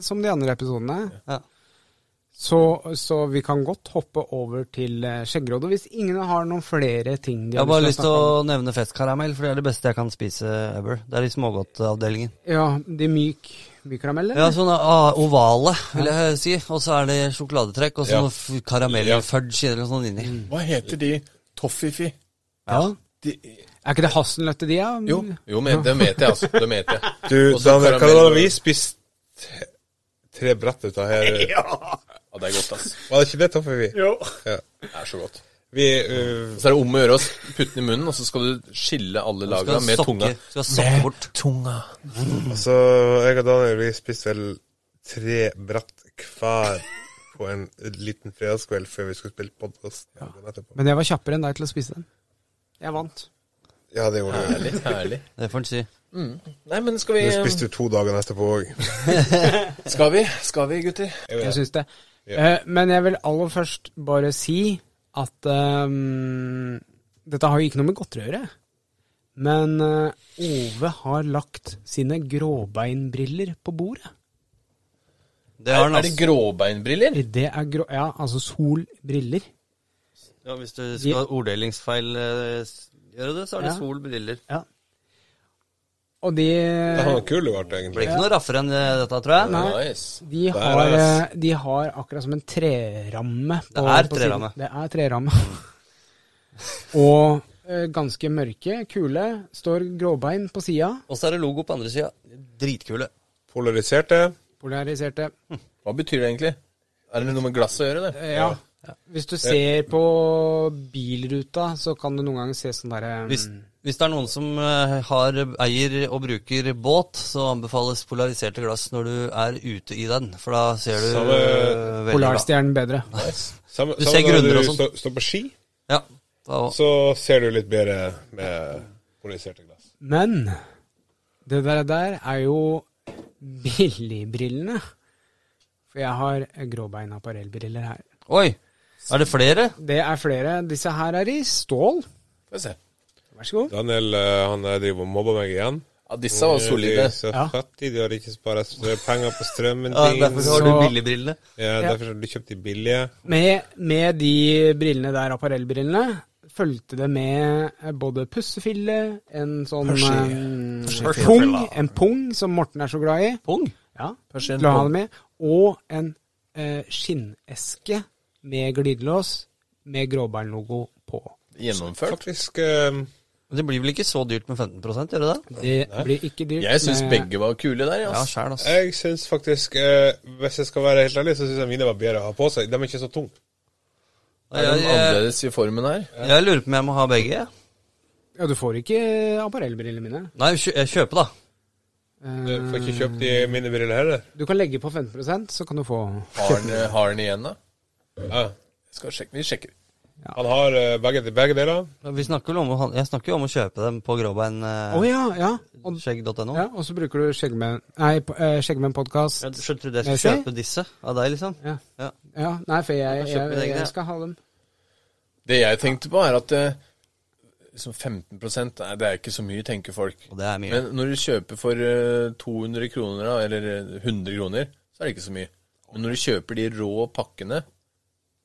som de andre episodene.
Ja.
Så, så vi kan godt hoppe over til eh, Skjeggrådet, hvis ingen har noen flere ting de
Jeg har bare lyst til
snakke om.
å nevne festkaramell, for det er det beste jeg kan spise ever. Det er i smågodtavdelingen.
Ja, de myk, myk karamell,
Ja,
eller?
sånn ah, ovale, vil jeg si. Og så er det sjokoladetrekk, og så
Ja.
noe f- karamellfudge eller noe sånt inni.
Hva heter de? Toffifi?
Ja.
De,
Er ikke det hasselnøtter de er?
jo, jo men, dem vet jeg, altså. Dem vet jeg.
Du,
Og så
Daniel, hva
karamell-
var det vi spiste tre brett ut av her?
Ja, det er godt, ass.
Var det ikke det toffe vi?
Jo.
Ja.
Det er så godt.
Vi øh,
Så er det om å gjøre å putte den i munnen, og så skal du skille alle lagene
Skal
med tunga.
sokke, skal sokke bort.
tunga.
Altså, jeg og Daniel vi spiste vel tre brett hver på en liten fredagskveld før vi skulle spille podkast. Ja.
Men jeg var kjappere enn deg til å spise den. Jeg vant.
ja, det gjorde vi.
Herlig, herlig.
Det får en si.
Nei, men skal
Vi
vi
spiste jo to dager etterpå òg.
Skal vi, skal vi, gutter?
Jeg syns det. Eh, men jeg vil aller først bare si at ehm, Dette har jo ikke noe med godteri å gjøre. Men eh, Ove har lagt sine gråbeinbriller på bordet.
Det
Er,
har den,
det
altså.
gråbeinbriller?
Det er grå... Ja, altså solbriller.
Ja, hvis du skal ha orddelingsfeil eh, s- gjøre det, så er det
Ja.
sol, briller.
Ja. Og de
Det har kul
Det
vært,
blir
egentlig.
ikke noe raffere enn eh, dette, tror jeg.
Nei.
Nice.
De
Der
har,
er det,
eh, de har akkurat som en treramme.
Det er
siden.
treramme.
Det er treramme. og eh, ganske mørke, kule, står gråbein på sida.
Og så er det logo på andre sida. Dritkule.
Polariserte.
Polariserte.
Hva betyr det egentlig? Er det noe med glass å gjøre, det?
Eh, Ja. Hvis du ser på bilruta, så kan du noen ganger se sånn derre
Hvis, hvis det er noen som eh, har, eier og bruker båt, så anbefales polariserte glass når du er ute i den, for da ser du
Så det-
eh, veldig bra.
Polarstjernen bedre.
Samme,
Du
samme
ser
når
grunner og
du
sånn.
står- står på ski,
Ja, da,
så ser du litt bedre med polariserte glass.
Men det der, der er jo billigbrillene. For jeg har eh, gråbein apparellbriller her.
Oi! Er det flere?
Det er flere. Disse her er i stål.
Får jeg se.
Vær så god.
Daniel eh, han eh, driver og mobber meg igjen.
Ja, disse var solide.
De Eh, er så
Ja.
fattige, de har ikke spart penger på strømmen
Ja, derfor
din.
har du
Så-
billigbrillene.
Ja, derfor har du kjøpt de billige.
Med, med de brillene der, apparellbrillene, fulgte det med eh, både pussefille, en sånn eh, pung, en pung som Morten er så glad i,
Pung?
ja,
Kanskje en
la han
pung.
med, og en eh, skinneske med glidelås med gråbærlogo på.
Gjennomført.
Faktisk eh,
Det blir vel ikke så dyrt med 15 gjør det det?
Det blir ikke dyrt.
Jeg syns
med-
begge var kule der,
Ja,
ass.
sjæl, altså.
Jeg syns faktisk, eh, hvis jeg skal være helt ærlig, så syns jeg mine var bedre å ha på seg. De er ikke så tunge.
Er de
Jeg, jeg,
annerledes i formen her?
jeg lurer på om jeg må ha begge. jeg.
Ja, du får ikke apparellbrillene mine.
Nei, kjø- jeg kjøper, da.
Du
Eh,
får ikke kjøpt de mine brillene heller.
du kan legge på 15 så kan du få
Har den, har den igjen, da?
Ja.
Skal sjekke. Vi sjekker.
Ah. Han har eh, begge, begge deler.
Vi snakker vel om, å ha- jeg snakker jo om å kjøpe dem på eh,
Å
gråbeinskjegg.no.
ja, ja. Og, ja. Og så bruker du Skjeggmenn Nei, eh, Skjeggmenn-podkast.
Jeg skjønte trodde jeg skulle kjøpe disse av deg, liksom.
Ja.
Ja.
Ja, nei, for jeg,
kan
jeg,
kjøpe deg
jeg,
egne.
skal ha dem.
Det jeg tenkte på, er at eh, liksom 15 nei, det er ikke så mye, tenker folk.
Og det er mye.
Men når du kjøper for eh, 200 kroner, da, eller eh, 100 kroner, så er det ikke så mye. Men når du kjøper de rå pakkene,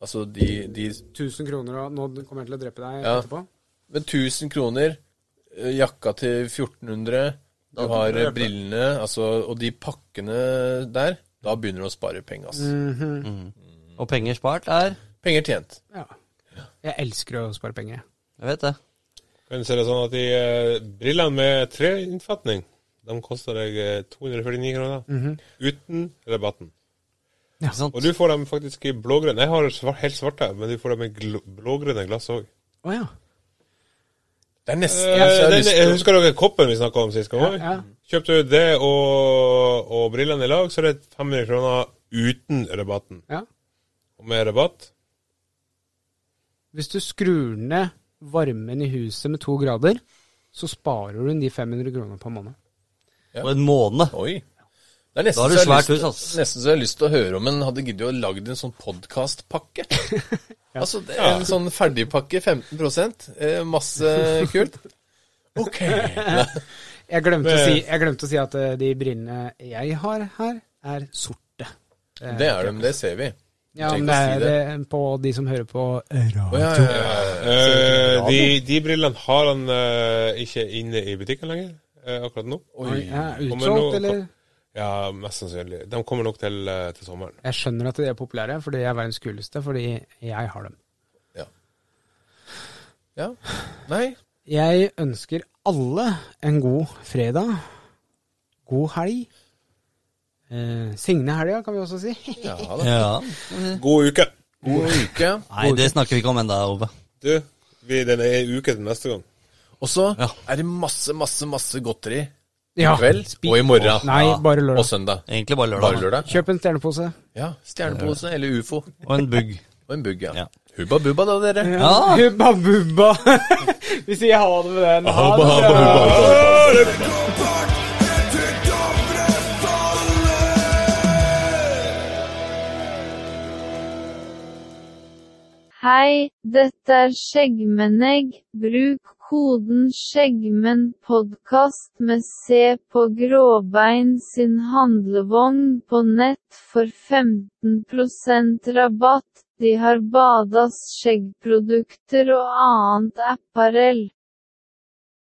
altså de, de
1000 kroner, og nå kommer jeg til å drepe deg
Ja.
etterpå.
med 1000 kroner, eh, jakka til 1400, du har eh, brillene, altså, og de pakkene der, da begynner du å spare penger, ass.
Og penger spart er
Penger tjent.
Ja. Jeg elsker å spare penger.
Jeg vet det.
Kan du si det sånn at de eh, brillene med treinnfatning, de koster deg eh, 249 kroner. Uten rabatten.
Ikke sant?
Og du får dem faktisk i blågrønne. Jeg har svar- helt svarte, men du får dem i gl blågrønne glass òg.
Å ja.
Det er
Eh,
nesten så jeg har
den-
lyst
jeg
til å
husker dere koppen vi snakka om sist gang? også?
Ja, ja.
Kjøpte du det og, og brillene i lag, så er det 500 kroner uten rabatten.
ja.
Og med rabatt
Hvis du skrur ned varmen i huset med to grader, så sparer du inn de 500 kronene på måned.
På en måned.
Oi. Det er nesten,
Da har du
så jeg har
svært
lyst,
hus, ass.
nesten så jeg har lyst til å høre om en hadde giddet å lagd en sånn podkastpakke. Altså, det er en sånn ferdigpakke, 15 eh, masse kult. Ok.
Jeg glemte, å
Men-
si, jeg glemte å si at eh, de brillene jeg har her, er sorte.
Det er det, men det ser vi.
Ja,
Tenk
men det
å si
er eh, på de som hører på eh, radio.
Å, ja, ja, ja, ja.
Eh, de, de brillene har han eh, ikke inne i butikken lenger, eh, akkurat nå.
Oi, ja,
Kommer
Utsolgt,
nå-
eller?
Ja, mest sannsynlig. De kommer nok til, eh, til sommeren.
Jeg skjønner at de er populære, for de er verdens kuleste, fordi jeg har dem.
ja. Nei.
Jeg ønsker alle en god fredag. God helg. Eh, Signe helga, kan vi også si.
Ja da.
Ja.
God uke!
God uke.
Nei, det snakker vi ikke om ennå, Ove.
Du, vi, den er ei uke til neste gang.
Og så
Ja.
er det masse, masse, masse godteri i
Ja.
kveld og i morgen.
Nei, bare
Og
lørdag.
søndag.
Egentlig bare lørdag.
Bare lørdag.
Kjøp en stjernepose.
Ja. Stjernepose eller ufo.
Og en bugg.
Og en bugg,
Ja.
ja. Hubba bubba, da, dere.
Ja.
Hubba bubba. Vi sier ha det med den. Ha det
Hubba,
bra.
hubba, hubba.
Hei, dette er Skjeggmennegg. Bruk koden skjeggmennpodkast med C på Gråbein sin handlevogn på nett for 15 rabatt. De har Badas skjeggprodukter og annet apparell.